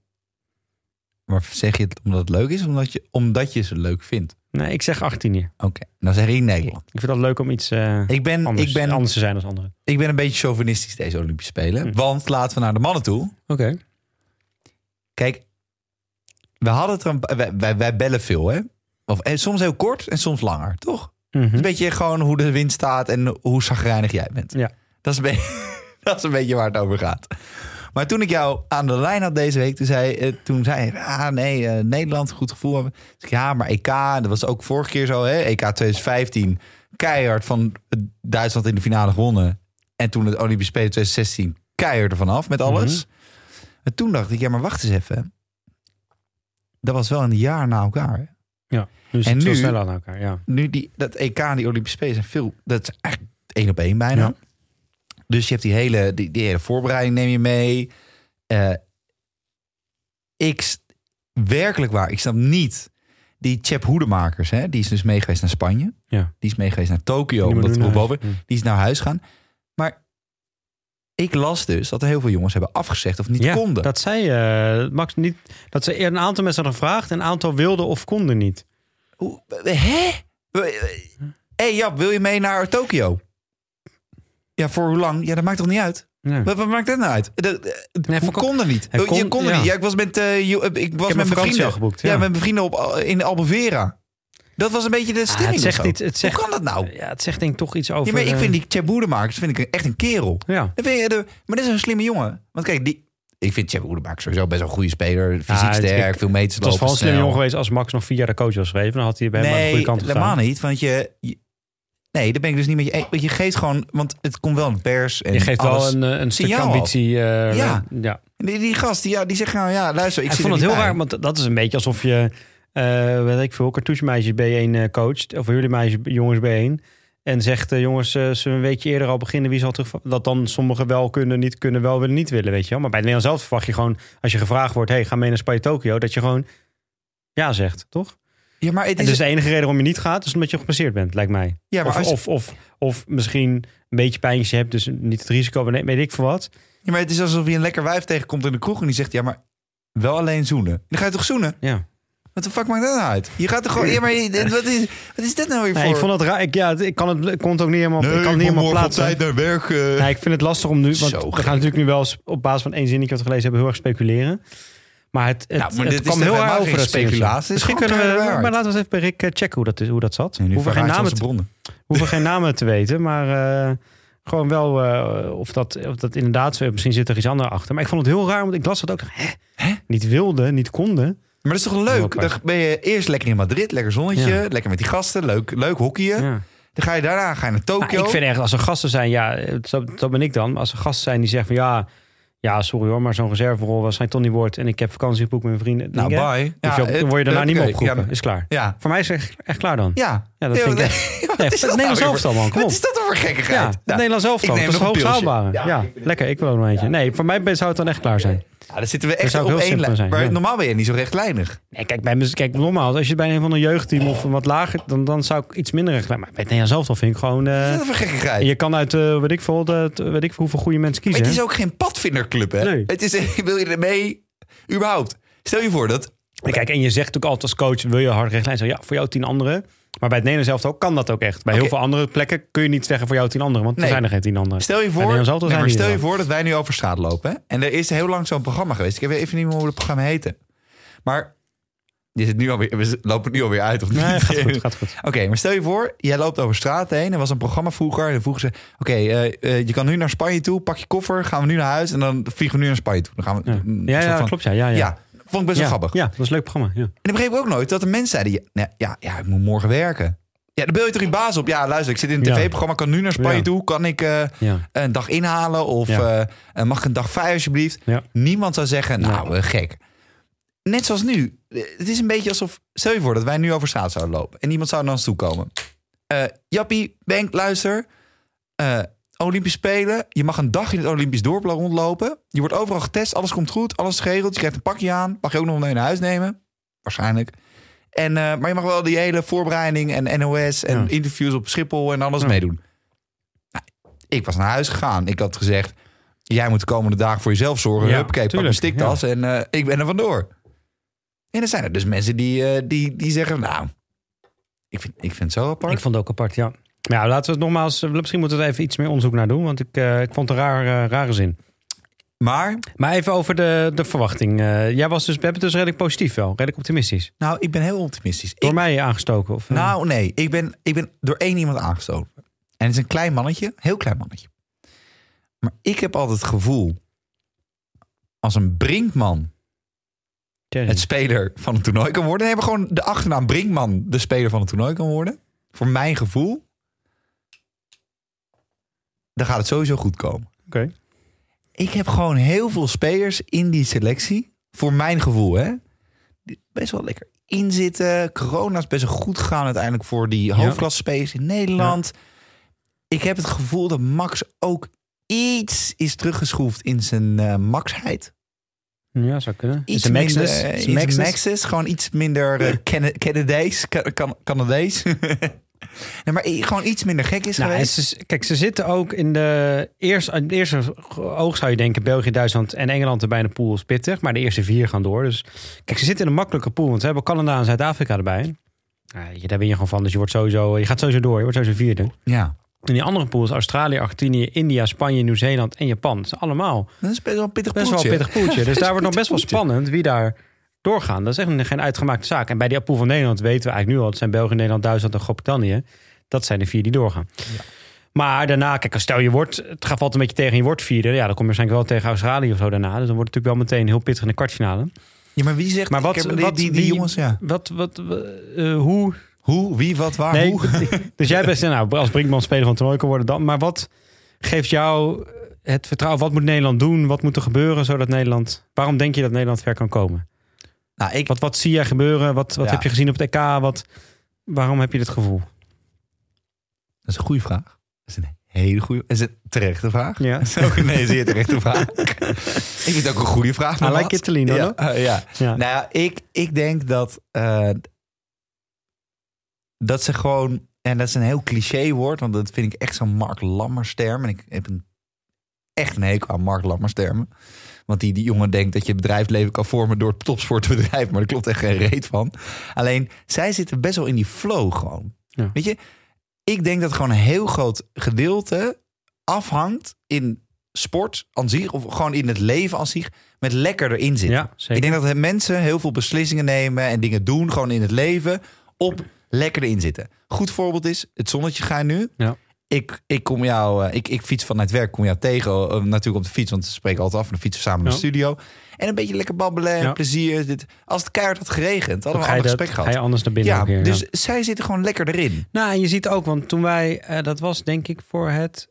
Speaker 2: Maar zeg je het omdat het leuk is? Omdat je, omdat je ze leuk vindt.
Speaker 1: Nee, ik zeg Argentinië.
Speaker 2: Oké, dan zeg ik Nederland.
Speaker 1: Ik vind dat leuk om iets eh,
Speaker 2: Ik ben,
Speaker 1: anders,
Speaker 2: ik, ben,
Speaker 1: anders te zijn dan anderen.
Speaker 2: ik ben een beetje chauvinistisch deze Olympische Spelen.
Speaker 1: Hm.
Speaker 2: Want laten we naar de mannen toe.
Speaker 1: Oké.
Speaker 2: Kijk, we hadden het er een, wij, wij, wij bellen veel, hè? Of, en soms heel kort en soms langer, toch?
Speaker 1: Mhm.
Speaker 2: Het is Een beetje gewoon hoe de wind staat en hoe zagrijnig jij bent.
Speaker 1: Ja.
Speaker 2: Dat, is een beetje, dat is een beetje waar het over gaat. Maar toen ik jou aan de lijn had deze week, toen zei, eh, toen zei je, ah nee, eh, Nederland, goed gevoel hebben. Toen zei ik, ja, maar EK, dat was ook vorige keer zo, hè? EK 2015, keihard van eh, Duitsland in de finale gewonnen. En toen het Olympische Spelen 2016, keihard ervan af met alles. En toen dacht ik, ja, maar wacht eens even. Dat was wel een jaar na elkaar, hè?
Speaker 1: Dus
Speaker 2: En
Speaker 1: het
Speaker 2: nu-
Speaker 1: veel sneller aan elkaar. Ja.
Speaker 2: nu die, dat EK en die Olympische Spelen zijn veel. Dat is eigenlijk één op één bijna.
Speaker 1: Ja.
Speaker 2: Dus je hebt die hele, die, die hele voorbereiding neem je mee. Eh, ik, s- werkelijk waar, ik snap niet die Chep Hoedemakers. Hè? Die is dus meegeweest naar Spanje.
Speaker 1: Ja.
Speaker 2: Die is meegeweest naar Tokio.
Speaker 1: Die
Speaker 2: Omdat
Speaker 1: moet
Speaker 2: het
Speaker 1: nu naar
Speaker 2: boven
Speaker 1: huis. Hm.
Speaker 2: die is naar huis gaan. Maar ik las dus dat er heel veel jongens hebben afgezegd of niet
Speaker 1: ja,
Speaker 2: konden.
Speaker 1: Dat zij, eh, Max, niet. Dat ze een aantal mensen hadden gevraagd, een aantal wilden of konden niet.
Speaker 2: Hoe- Hè? Hé hey Jap, wil je mee naar Tokio? Ja, voor hoe lang? Ja, dat maakt toch niet uit?
Speaker 1: Nee.
Speaker 2: Wat, wat maakt dat nou uit? De, de-
Speaker 1: Nee,
Speaker 2: hoe
Speaker 1: verko-
Speaker 2: kon dat niet?
Speaker 1: Hij
Speaker 2: Oh, je
Speaker 1: kon-
Speaker 2: kon er
Speaker 1: ja.
Speaker 2: niet. Ja, ik was met, eh, jo- eh, ik was
Speaker 1: een
Speaker 2: met mijn
Speaker 1: vakantie
Speaker 2: vrienden.
Speaker 1: al geboekt,
Speaker 2: ja.
Speaker 1: ja.
Speaker 2: met mijn vrienden op, Al- in Albevera. Dat was een beetje de
Speaker 1: Ah,
Speaker 2: stemming.
Speaker 1: het
Speaker 2: of
Speaker 1: zegt
Speaker 2: zo.
Speaker 1: iets. Het zegt,
Speaker 2: hoe kan dat nou?
Speaker 1: Ja, het zegt denk ik toch iets over.
Speaker 2: Ja, maar ik
Speaker 1: eh,
Speaker 2: vind die Tjeb Boedemakers vind ik echt een kerel.
Speaker 1: Ja.
Speaker 2: Dat vind je de- maar dat is een slimme jongen. Want kijk, die, ik vind Tjeb Boedemakers sowieso best wel een goede speler. Fysiek
Speaker 1: Ja, het-
Speaker 2: sterk,
Speaker 1: ik-
Speaker 2: veel meters
Speaker 1: Het was
Speaker 2: lopen,
Speaker 1: vooral slim
Speaker 2: snel.
Speaker 1: jongen geweest als Max nog vier jaar de coach was geweest. Dan had hij bij hem aan de goede
Speaker 2: Nee,
Speaker 1: kant
Speaker 2: helemaal
Speaker 1: gestaan.
Speaker 2: niet. Want je, je- Nee, daar ben ik dus niet met je. eens. Want je geeft gewoon. Want het komt wel een pers. En
Speaker 1: Je geeft wel
Speaker 2: alles.
Speaker 1: een, eh, een stukje
Speaker 2: Signaal af.
Speaker 1: ambitie. eh,
Speaker 2: Ja.
Speaker 1: ja.
Speaker 2: Die, die gast, die, ja, die zegt nou ja, luister. Ik
Speaker 1: Ik
Speaker 2: zit
Speaker 1: vond het
Speaker 2: er
Speaker 1: heel
Speaker 2: niet bij.
Speaker 1: raar, want dat is een beetje alsof je, eh weet ik veel, cartouchemeisjes B1 eh, coacht. Of jullie meisjes, jongens B1. En zegt, eh, jongens, eh, zullen we een weekje eerder al beginnen? Wie zal terug... Dat dan sommigen wel kunnen, niet kunnen, wel willen, niet willen, weet je wel. Maar bij Nederland zelf verwacht je gewoon, als je gevraagd wordt... hey, ga mee naar Spanje-Tokio, dat je gewoon ja zegt, toch?
Speaker 2: Ja, maar het
Speaker 1: En
Speaker 2: is.
Speaker 1: dus de enige reden waarom je niet gaat, is omdat je gepasseerd bent, lijkt mij.
Speaker 2: ja, maar
Speaker 1: Of,
Speaker 2: als,
Speaker 1: of, of, of misschien een beetje pijntjes hebt, dus niet het risico, nee, weet ik veel wat.
Speaker 2: ja, maar het is alsof je een lekker wijf tegenkomt in de kroeg en die zegt ja, maar wel alleen zoenen. Dan ga je toch zoenen?
Speaker 1: Ja.
Speaker 2: Wat de fuck maakt dat nou uit? Je gaat toch gewoon. Ja, maar je- wat is, wat is dit nou weer voor?
Speaker 1: Nee, ik vond het raar. Ik, ja, ik kan het, ik kon het ook niet helemaal, ik kan het niet helemaal plaatsen.
Speaker 2: naar werk.
Speaker 1: Ja, ik vind het lastig om nu, want
Speaker 2: Zo
Speaker 1: we
Speaker 2: gek.
Speaker 1: gaan natuurlijk nu wel eens op basis van één zinnetje wat we gelezen hebben heel erg speculeren. Maar het, het,
Speaker 2: Nou, maar
Speaker 1: het
Speaker 2: dit is
Speaker 1: kwam
Speaker 2: toch
Speaker 1: heel
Speaker 2: helemaal
Speaker 1: erg over
Speaker 2: geen
Speaker 1: dat zinnetje.
Speaker 2: speculatie, het is
Speaker 1: Misschien
Speaker 2: gewoon
Speaker 1: kunnen we,
Speaker 2: keiharde
Speaker 1: maar
Speaker 2: waarheid.
Speaker 1: laten we eens even bij Rick eh, checken hoe dat, is, hoe dat zat.
Speaker 2: Nu
Speaker 1: hoeven, geen
Speaker 2: verraadt je
Speaker 1: namen
Speaker 2: onze
Speaker 1: te,
Speaker 2: bronnen.
Speaker 1: hoeven geen namen te weten, maar eh, gewoon wel eh, of, dat, of dat inderdaad, zo- misschien zit er iets anders achter. Maar ik vond het heel raar, want ik las dat ook. dacht, Hè? Niet wilden, niet konden.
Speaker 2: Maar dat is toch leuk?
Speaker 1: Heel apart.
Speaker 2: Dan ben je eerst lekker in Madrid, lekker zonnetje,
Speaker 1: Ja.
Speaker 2: lekker met die gasten, leuk, leuk hockeyen.
Speaker 1: Ja.
Speaker 2: Dan ga je daarna ga je naar
Speaker 1: Nou,
Speaker 2: Tokio.
Speaker 1: ik vind echt, als er gasten zijn, ja, dat, dat ben ik dan. Maar als er gasten zijn die zeggen van ja, ja sorry hoor, maar zo'n reserverol was geen Tony wordt en ik heb vakantie geboekt met mijn vrienden.
Speaker 2: Nou,
Speaker 1: Denk, hè?
Speaker 2: bye.
Speaker 1: Hoef je ook-
Speaker 2: het-
Speaker 1: dan word je daarna niet meer
Speaker 2: oké,
Speaker 1: opgeroepen.
Speaker 2: Ja.
Speaker 1: is klaar.
Speaker 2: ja.
Speaker 1: Voor mij is het echt, echt klaar dan.
Speaker 2: Ja.
Speaker 1: Ja, dat
Speaker 2: Ja,
Speaker 1: vind ik
Speaker 2: nee,
Speaker 1: echt-
Speaker 2: wat
Speaker 1: Nee,
Speaker 2: is
Speaker 1: het
Speaker 2: dat nou
Speaker 1: Nederlands
Speaker 2: weer
Speaker 1: elftal,
Speaker 2: voor-
Speaker 1: man. Kom
Speaker 2: Wat
Speaker 1: op.
Speaker 2: is dat dan voor
Speaker 1: Ja,
Speaker 2: gekkigheid? Nou,
Speaker 1: het Nederlands elftal.
Speaker 2: ik neem
Speaker 1: Dat is
Speaker 2: nog een
Speaker 1: hoogst
Speaker 2: pilsje.
Speaker 1: haalbare.
Speaker 2: Ja,
Speaker 1: Ja,
Speaker 2: ik vind
Speaker 1: lekker. Ik wil ook nog eentje. Nee, voor mij zou het dan echt klaar zijn.
Speaker 2: Ja, daar zitten we
Speaker 1: Dat
Speaker 2: echt
Speaker 1: zou
Speaker 2: op
Speaker 1: ook heel
Speaker 2: één
Speaker 1: simpel
Speaker 2: lijn.
Speaker 1: zijn,
Speaker 2: maar
Speaker 1: ja.
Speaker 2: normaal ben je niet zo rechtlijnig.
Speaker 1: Nee, kijk, bij, mez- kijk, nogmaals, als je bij een van een jeugdteam of een wat lager, dan, dan zou ik iets minder recht Maar bij het Nederlands elftal vind ik gewoon... eh,
Speaker 2: Wat is dat voor gekkigheid?
Speaker 1: je kan uit, eh, weet ik veel, dat, weet ik veel hoeveel goede mensen
Speaker 2: Maar
Speaker 1: kiezen.
Speaker 2: het is ook geen padvinderclub, hè?
Speaker 1: Nee.
Speaker 2: Het is, wil je ermee... Überhaupt. Stel je voor dat
Speaker 1: En Kijk, en je zegt natuurlijk altijd als coach, wil je hard rechtlijn zeggen? Ja, voor jou tien anderen. Maar bij het Nederlands elftal kan dat ook echt. Bij heel
Speaker 2: Oké.
Speaker 1: veel andere plekken kun je niet zeggen voor jou tien anderen, want er
Speaker 2: Nee.
Speaker 1: zijn er geen tien anderen.
Speaker 2: Stel je
Speaker 1: Bij
Speaker 2: voor,
Speaker 1: Nederlands elftal
Speaker 2: nee,
Speaker 1: zijn
Speaker 2: maar
Speaker 1: die
Speaker 2: stel
Speaker 1: er
Speaker 2: je
Speaker 1: wel.
Speaker 2: voor dat wij nu over straat lopen. hè? En er is heel lang zo'n programma geweest. Ik heb even niet meer hoe het programma heette. Maar dit is nu alweer, we lopen nu alweer uit of niet?
Speaker 1: Nee, gaat goed, gaat goed.
Speaker 2: Oké, maar stel je voor, jij loopt over straat heen. Er was een programma vroeger. En dan vroegen ze: Oké, eh, eh, je kan nu naar Spanje toe. Pak je koffer, gaan we nu naar huis. En dan vliegen we nu naar Spanje toe. Dan gaan we,
Speaker 1: Ja,
Speaker 2: een
Speaker 1: ja,
Speaker 2: soort
Speaker 1: ja
Speaker 2: van-
Speaker 1: klopt. Ja, ja, ja.
Speaker 2: Ja. vond ik best
Speaker 1: ja,
Speaker 2: wel grappig.
Speaker 1: Ja, dat is een leuk programma. Ja.
Speaker 2: En dan begreep ik ook nooit dat de mensen zeiden: ja, nou, ja, ja, ik moet morgen werken. Ja, dan bel je toch je baas op. Ja, luister, ik zit in een
Speaker 1: Ja.
Speaker 2: tv-programma, kan nu naar Spanje
Speaker 1: Ja.
Speaker 2: toe. Kan ik eh,
Speaker 1: Ja.
Speaker 2: een dag inhalen? Of
Speaker 1: Ja.
Speaker 2: eh, eh, mag ik een dag vrij alsjeblieft?
Speaker 1: Ja.
Speaker 2: Niemand zou zeggen, nou,
Speaker 1: Nee.
Speaker 2: eh, gek. Net zoals nu. Eh, Het is een beetje alsof... Stel je voor dat wij nu over straat zouden lopen. En iemand zou naar ons toe komen. Eh, Jappie, Benk, luister. Eh Olympisch Spelen. Je mag een dag in het Olympisch dorp rondlopen. Je wordt overal getest. Alles komt goed. Alles is geregeld. Je krijgt een pakje aan. Mag je ook nog mee naar huis nemen. Waarschijnlijk. En, eh, maar je mag wel die hele voorbereiding en NOS en
Speaker 1: Ja.
Speaker 2: interviews op Schiphol en alles
Speaker 1: Ja.
Speaker 2: meedoen. Nou, ik was naar huis gegaan. Ik had gezegd, jij moet de komende dagen voor jezelf zorgen.
Speaker 1: Ja,
Speaker 2: Hup, kijk, pak mijn
Speaker 1: tuurlijk,
Speaker 2: stiktas en eh, ik ben er vandoor. En er zijn er dus mensen die, eh, die, die zeggen, nou, ik vind, ik vind het zo apart.
Speaker 1: Ik vond het ook apart, ja. Maar ja, laten we het nogmaals, eh, misschien moeten we er even iets meer onderzoek naar doen, want ik, eh, ik vond het een raar, eh, rare zin.
Speaker 2: maar,
Speaker 1: Maar even over de, de verwachting. Eh, jij was dus, we hebben het dus redelijk positief wel, redelijk optimistisch.
Speaker 2: nou, ik ben heel optimistisch.
Speaker 1: Door
Speaker 2: Ik-
Speaker 1: mij aangestoken? Of, eh?
Speaker 2: nou, nee, ik ben, ik ben door één iemand aangestoten. En het is een klein mannetje, heel klein mannetje. Maar ik heb altijd het gevoel, als een brinkman
Speaker 1: Thierry.
Speaker 2: het speler van het toernooi kan worden. Nee, maar gewoon de achternaam Brinkman de speler van het toernooi kan worden. Voor mijn gevoel. Dan gaat het sowieso goed komen.
Speaker 1: Oké.
Speaker 2: Ik heb gewoon heel veel spelers in die selectie. Voor mijn gevoel, hè. Die best wel lekker inzitten. Corona is best wel goed gegaan uiteindelijk voor die hoofdklasse spelers in Nederland. Ik heb het gevoel dat Max ook iets is teruggeschroefd in zijn eh, maxheid
Speaker 1: Ja, zou kunnen.
Speaker 2: iets
Speaker 1: Is het
Speaker 2: minder,
Speaker 1: Maxis? Is
Speaker 2: eh,
Speaker 1: het dus?
Speaker 2: iets
Speaker 1: Maxis?
Speaker 2: Maxis, gewoon iets minder eh, Cana- Canadees, Ca- Can- Canadees. nee, maar i- gewoon iets minder gek is
Speaker 1: Nou,
Speaker 2: geweest.
Speaker 1: en ze- kijk, ze zitten ook in de eerste, in het eerste oog zou je denken België, Duitsland en Engeland erbij in de pool is pittig, maar de eerste vier gaan door. Dus kijk, ze zitten in een makkelijke pool, want ze hebben Canada en Zuid-Afrika erbij. Nou, je daar win je gewoon van, dus je wordt sowieso, je gaat sowieso door, je wordt sowieso vierde.
Speaker 2: Ja,
Speaker 1: En die andere pools, Australië, Argentinië, India, Spanje, Nieuw-Zeeland en Japan. Dat is allemaal
Speaker 2: dat is best wel een pittig
Speaker 1: best wel
Speaker 2: poeltje.
Speaker 1: een pittig poeltje. Dus daar wordt nog best wel
Speaker 2: pittig
Speaker 1: spannend wie daar doorgaan. Dat is echt geen uitgemaakte zaak. En bij die pool van Nederland weten we eigenlijk nu al... het zijn België, Nederland, Duitsland en Groot-Brittannië. Dat zijn de vier die doorgaan. Maar daarna, kijk, als stel je wordt... het gaat valt een beetje tegen en je wordt vierde... ja, dan kom je waarschijnlijk wel tegen Australië of zo daarna. Dus dan wordt het natuurlijk wel meteen heel pittig in de kwartfinale.
Speaker 2: Ja, maar wie zegt...
Speaker 1: Maar wat-
Speaker 2: ik heb- die,
Speaker 1: wat-
Speaker 2: die, die
Speaker 1: wie-
Speaker 2: jongens, ja.
Speaker 1: Wat, wat, eh, hoe...
Speaker 2: Hoe, wie, wat, waar,
Speaker 1: Ah, Nee,
Speaker 2: hoe?
Speaker 1: ik- dus jij bent, nou, als Brinkman speler van het toernooi kan worden dan... maar wat geeft jou het vertrouwen? Wat moet Nederland doen? Wat moet er gebeuren zodat Nederland... waarom denk je dat Nederland ver kan komen?
Speaker 2: Nou, ik,
Speaker 1: Wat, wat zie jij gebeuren? Wat, wat
Speaker 2: Ja.
Speaker 1: heb je gezien op het EK? Wat, waarom heb je dit gevoel?
Speaker 2: Dat is een goede vraag. Dat is een hele goede... Dat is een terechte vraag.
Speaker 1: Ja.
Speaker 2: Dat is ook een zeer terechte vraag. ik vind het ook een goede vraag.
Speaker 1: I
Speaker 2: nogmaals.
Speaker 1: like Italy, no?
Speaker 2: ja, eh, ja.
Speaker 1: Ja.
Speaker 2: Nou ja, ik, ik denk dat. eh, dat ze gewoon. En dat is een heel cliché woord, want dat vind ik echt zo'n Mark Lammers term. En ik heb een, echt een hekel aan Mark Lammers termen. Want die, die jongen denkt dat je het bedrijfsleven kan vormen door het topsportbedrijf. Maar daar klopt echt geen reet van. Alleen, zij zitten best wel in die flow gewoon.
Speaker 1: Ja.
Speaker 2: Weet je, ik denk dat gewoon een heel groot gedeelte afhangt in sport aan zich. Of gewoon in het leven aan zich. Met lekker erin zitten.
Speaker 1: Ja, zeker.
Speaker 2: Ik denk dat mensen heel veel beslissingen nemen en dingen doen, gewoon in het leven, op lekker erin zitten. Goed voorbeeld is, het zonnetje gaat nu.
Speaker 1: Ja.
Speaker 2: Ik, ik kom jou, eh, ik, ik fiets vanuit werk, kom jou tegen, eh, natuurlijk op de fiets, want we spreken altijd af en dan fietsen we samen naar de
Speaker 1: Ja.
Speaker 2: studio. En een beetje lekker babbelen en
Speaker 1: Ja.
Speaker 2: plezier. Dit, als het keihard had geregend, hadden
Speaker 1: Dan
Speaker 2: we
Speaker 1: ga
Speaker 2: een
Speaker 1: je,
Speaker 2: ander
Speaker 1: dat,
Speaker 2: gesprek
Speaker 1: ga je
Speaker 2: gehad.
Speaker 1: anders naar binnen.
Speaker 2: Ja,
Speaker 1: ook weer,
Speaker 2: dus zij zitten gewoon lekker erin.
Speaker 1: Nou, en je ziet ook, want toen wij, eh, dat was denk ik voor het.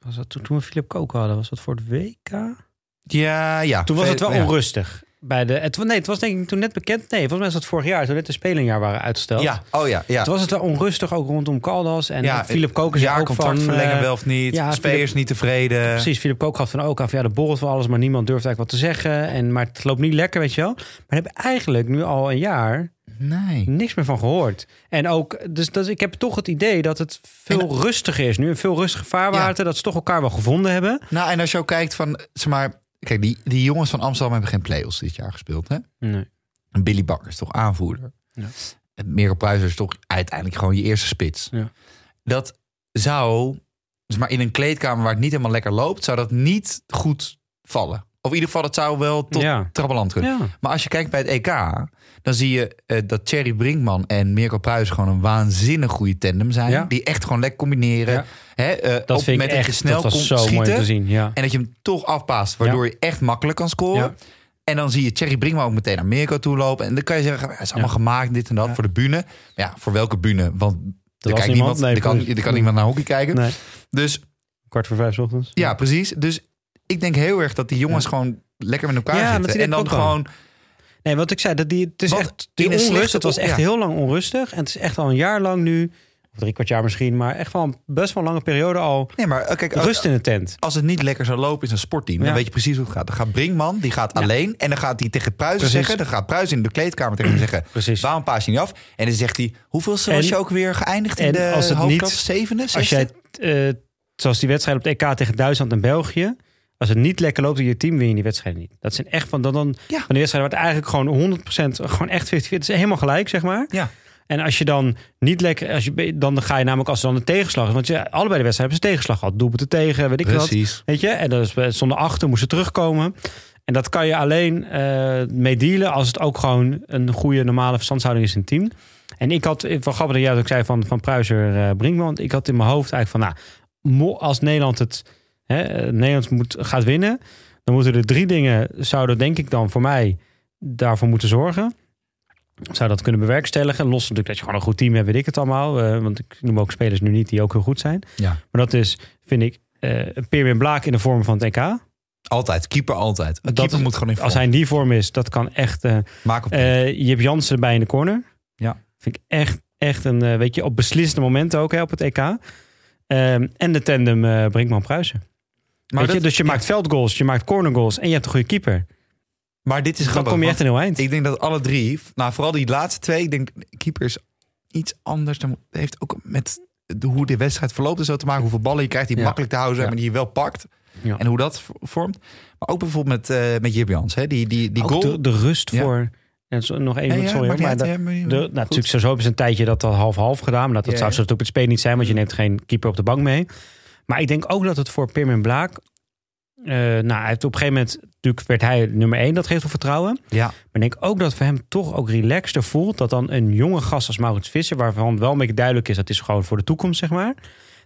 Speaker 1: Was dat toen, toen we Philip Kook hadden? Was dat voor het WK?
Speaker 2: Ja, ja.
Speaker 1: Toen was
Speaker 2: Veel-
Speaker 1: het wel
Speaker 2: ja.
Speaker 1: onrustig. Bij de, het, nee, het was denk ik toen net bekend. Nee, volgens mij was dat vorig jaar. Toen net de spelenjaar waren uitgesteld.
Speaker 2: Ja, oh ja, ja.
Speaker 1: Toen was het wel onrustig ook rondom Caldas. En
Speaker 2: ja,
Speaker 1: Philip Kook is
Speaker 2: ja,
Speaker 1: er ook
Speaker 2: contract
Speaker 1: van...
Speaker 2: verlengen
Speaker 1: eh,
Speaker 2: wel of niet.
Speaker 1: ja,
Speaker 2: spelers
Speaker 1: Philip-
Speaker 2: niet tevreden.
Speaker 1: Precies, Philip Kook gaf van ook af. Ja, de borrelt van alles, maar niemand durft eigenlijk wat te zeggen. En, maar het loopt niet lekker, weet je wel. Maar daar heb ik eigenlijk nu al een jaar
Speaker 2: Nee.
Speaker 1: niks meer van gehoord. En ook, dus dat, ik heb toch het idee dat het veel rustiger is nu. En veel rustiger vaarwater. Dat ze toch elkaar wel gevonden hebben.
Speaker 2: Nou, en als je ook kijkt van, zeg maar, Kijk, die, die jongens van Amsterdam hebben geen play-offs dit jaar gespeeld. Hè?
Speaker 1: Nee.
Speaker 2: En Billy Bakker is toch aanvoerder.
Speaker 1: Ja.
Speaker 2: En Merel Pruiser is toch uiteindelijk gewoon je eerste spits.
Speaker 1: Ja.
Speaker 2: Dat zou, dus maar in een kleedkamer waar het niet helemaal lekker loopt, zou dat niet goed vallen. Of in ieder geval, het zou wel tot
Speaker 1: Ja.
Speaker 2: trabbeland kunnen.
Speaker 1: Ja.
Speaker 2: Maar als je kijkt bij het EK, dan zie je eh, dat Thierry Brinkman en Merel Pruiser gewoon een waanzinnig goede tandem zijn.
Speaker 1: Ja.
Speaker 2: Die echt gewoon lekker combineren.
Speaker 1: Ja.
Speaker 2: Hè, eh,
Speaker 1: Dat
Speaker 2: op
Speaker 1: vind
Speaker 2: met
Speaker 1: ik
Speaker 2: dat je
Speaker 1: echt
Speaker 2: snel
Speaker 1: dat was
Speaker 2: komt
Speaker 1: zo mooi
Speaker 2: schieten.
Speaker 1: om te zien. Ja.
Speaker 2: En dat je hem toch afpaast, waardoor je echt makkelijk kan scoren.
Speaker 1: Ja.
Speaker 2: En dan zie je Thierry Brinkman ook meteen naar Mirko toe lopen. En dan kan je zeggen, ja, het is allemaal gemaakt, dit en dat,
Speaker 1: Ja.
Speaker 2: voor de bühne. Ja, voor welke bühne? Want er
Speaker 1: was
Speaker 2: kijkt
Speaker 1: niemand,
Speaker 2: niemand,
Speaker 1: nee,
Speaker 2: er kan,
Speaker 1: precies.
Speaker 2: er kan niemand naar hockey kijken.
Speaker 1: Nee.
Speaker 2: Dus
Speaker 1: Kwart voor vijf 's ochtends.
Speaker 2: ja, precies. Dus ik denk heel erg dat die jongens gewoon lekker met elkaar
Speaker 1: Ja, dat
Speaker 2: zitten.
Speaker 1: zie
Speaker 2: En dan
Speaker 1: ik ook wel.
Speaker 2: gewoon,
Speaker 1: Nee, wat ik zei, dat die, het is
Speaker 2: Want
Speaker 1: echt die
Speaker 2: in een
Speaker 1: onrust.
Speaker 2: slechte
Speaker 1: het was
Speaker 2: op-
Speaker 1: echt
Speaker 2: ja.
Speaker 1: heel lang onrustig. En het is echt al een jaar lang nu, of drie kwart jaar misschien, maar echt wel een best wel een lange periode al
Speaker 2: nee, maar eh, kijk,
Speaker 1: rust in de tent.
Speaker 2: als het niet lekker zou lopen in een sportteam,
Speaker 1: Ja.
Speaker 2: dan weet je precies hoe het gaat. Dan gaat Brinkman, die gaat alleen. En dan gaat hij tegen Pruisen
Speaker 1: Precies.
Speaker 2: zeggen. Dan gaat Pruisen in de kleedkamer tegen hem zeggen.
Speaker 1: Precies.
Speaker 2: Waarom paas je niet af? En dan zegt hij, hoeveel was
Speaker 1: En-
Speaker 2: je ook weer geëindigd in
Speaker 1: en
Speaker 2: de
Speaker 1: als het niet-
Speaker 2: hoofdklasse? Zevende,
Speaker 1: Als
Speaker 2: zesde?
Speaker 1: jij, eh, zoals die wedstrijd op het EK tegen Duitsland en België, als het niet lekker loopt in je team, win je die wedstrijd niet. Dat zijn echt van, dan, dan,
Speaker 2: Ja.
Speaker 1: van de wedstrijd waar het eigenlijk gewoon 100%, gewoon echt 50-50, het is helemaal gelijk, zeg maar.
Speaker 2: Ja.
Speaker 1: En als je dan niet lekker, als je, dan ga je namelijk als er dan een tegenslag is. Want je, allebei de wedstrijden hebben ze tegenslag gehad. Doelpunten tegen, weet ik wat.
Speaker 2: Precies.
Speaker 1: Weet je? En dat is, stonden achter, moesten terugkomen. En dat kan je alleen eh mee dealen als het ook gewoon een goede normale verstandshouding is in het team. En ik had, eh, wel grappig dat jij dat ook zei van, van Pruiser eh Brinkman. Want ik had in mijn hoofd eigenlijk van, nou, mo- als Nederland het hè, eh, Nederland moet, gaat winnen, dan moeten er drie dingen, zouden denk ik dan voor mij daarvoor moeten zorgen. Zou dat kunnen bewerkstelligen? Los natuurlijk dat je gewoon een goed team hebt, weet ik het allemaal. eh, want ik noem ook spelers nu niet die ook heel goed zijn.
Speaker 2: Ja.
Speaker 1: Maar dat is, vind ik, eh Pirmin Blaak in de vorm van het NK.
Speaker 2: Altijd, keeper altijd. Een
Speaker 1: Dat
Speaker 2: keeper
Speaker 1: is-
Speaker 2: moet gewoon in vorm.
Speaker 1: Als hij in die vorm is, dat kan echt... eh
Speaker 2: Maak op.
Speaker 1: eh, je hebt Jansen erbij in de corner.
Speaker 2: Ja.
Speaker 1: Vind ik echt, echt een, eh, weet je, op beslissende momenten ook hè, op het EK. Ehm, en de tandem eh, Brinkman-Pruisen.
Speaker 2: maar,
Speaker 1: Weet je,
Speaker 2: dat-
Speaker 1: dus je
Speaker 2: ja,
Speaker 1: maakt veldgoals, je maakt cornergoals en je hebt een goede keeper.
Speaker 2: maar dit is
Speaker 1: Dan
Speaker 2: grappig.
Speaker 1: kom je echt een heel eind.
Speaker 2: want Ik denk dat alle drie, nou vooral die laatste twee, ik denk keeper is iets anders. Dan heeft ook met de, hoe de wedstrijd verloopt en zo te maken. Hoeveel ballen je krijgt die
Speaker 1: Ja.
Speaker 2: makkelijk te houden zijn,
Speaker 1: Ja.
Speaker 2: maar die je wel pakt.
Speaker 1: Ja.
Speaker 2: En hoe dat v- vormt. Maar ook bijvoorbeeld met, eh met Jip Jans. Hè? Die, die, die
Speaker 1: Ook
Speaker 2: goal.
Speaker 1: de, de rust
Speaker 2: Ja.
Speaker 1: voor... En zo- nog één,
Speaker 2: Nee, ja,
Speaker 1: sorry,
Speaker 2: maakt
Speaker 1: hoor,
Speaker 2: niet
Speaker 1: maar
Speaker 2: uit,
Speaker 1: dat,
Speaker 2: ja, maar-
Speaker 1: de, nou,
Speaker 2: goed.
Speaker 1: natuurlijk, sowieso is een tijdje dat dat half-half gedaan. Maar dat, dat
Speaker 2: Ja,
Speaker 1: zou
Speaker 2: ja.
Speaker 1: zo op het spelen niet zijn, want je neemt geen keeper op de bank mee. Maar ik denk ook dat het voor Pirmin Blaak... eh, nou, hij heeft op een gegeven moment... Natuurlijk werd hij nummer één, dat geeft wel vertrouwen.
Speaker 2: Ja.
Speaker 1: Maar ik denk ook dat het voor hem toch ook relaxter voelt... dat dan een jonge gast als Maurits Visser... waarvan wel een beetje duidelijk is... dat is gewoon voor de toekomst, zeg maar...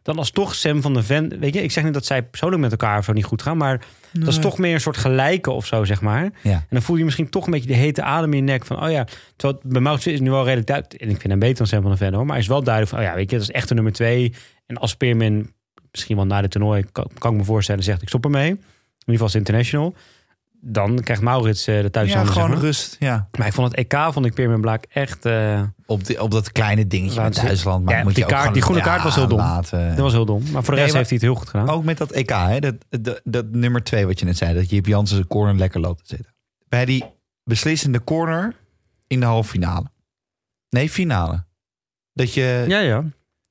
Speaker 1: dan als toch Sam van der Ven... Weet je, ik zeg niet dat zij persoonlijk met elkaar zo niet goed gaan... maar dat is
Speaker 2: Nee.
Speaker 1: toch meer een soort gelijke of zo, zeg maar.
Speaker 2: Ja.
Speaker 1: En dan voel je misschien toch een beetje de hete adem in je nek. Van, oh ja, terwijl het bij Maurits is nu wel redelijk duidelijk. En ik vind hem beter dan Sam van der Ven, hoor. Maar hij is wel duidelijk van, oh ja, weet je, dat is echt de nummer twee. En als Spearman misschien wel na de toernooi, kan, kan ik me voorstellen, zegt ik stop ermee. In ieder geval als international. Dan krijgt Maurits eh, de thuis
Speaker 2: Ja, gewoon rust. Ja.
Speaker 1: Maar ik vond het EK, vond ik Peerman Blaak echt... eh,
Speaker 2: Op, die, op dat kleine dingetje met
Speaker 1: Laat ze-
Speaker 2: Duitsland. Maar
Speaker 1: Ja,
Speaker 2: moet
Speaker 1: die
Speaker 2: je ook
Speaker 1: kaart-
Speaker 2: gewoon-
Speaker 1: die groene
Speaker 2: ja,
Speaker 1: kaart was heel dom.
Speaker 2: laten.
Speaker 1: dat was heel dom. Maar voor de
Speaker 2: Nee,
Speaker 1: rest
Speaker 2: maar- Oh,
Speaker 1: heeft hij het heel goed gedaan.
Speaker 2: Ook met dat EK, hè? Dat, dat, dat nummer twee wat je net zei, dat Jip Jansen zijn corner lekker loopt te zitten. Bij die beslissende corner in de halve finale. Nee, finale. Dat je...
Speaker 1: Ja, ja.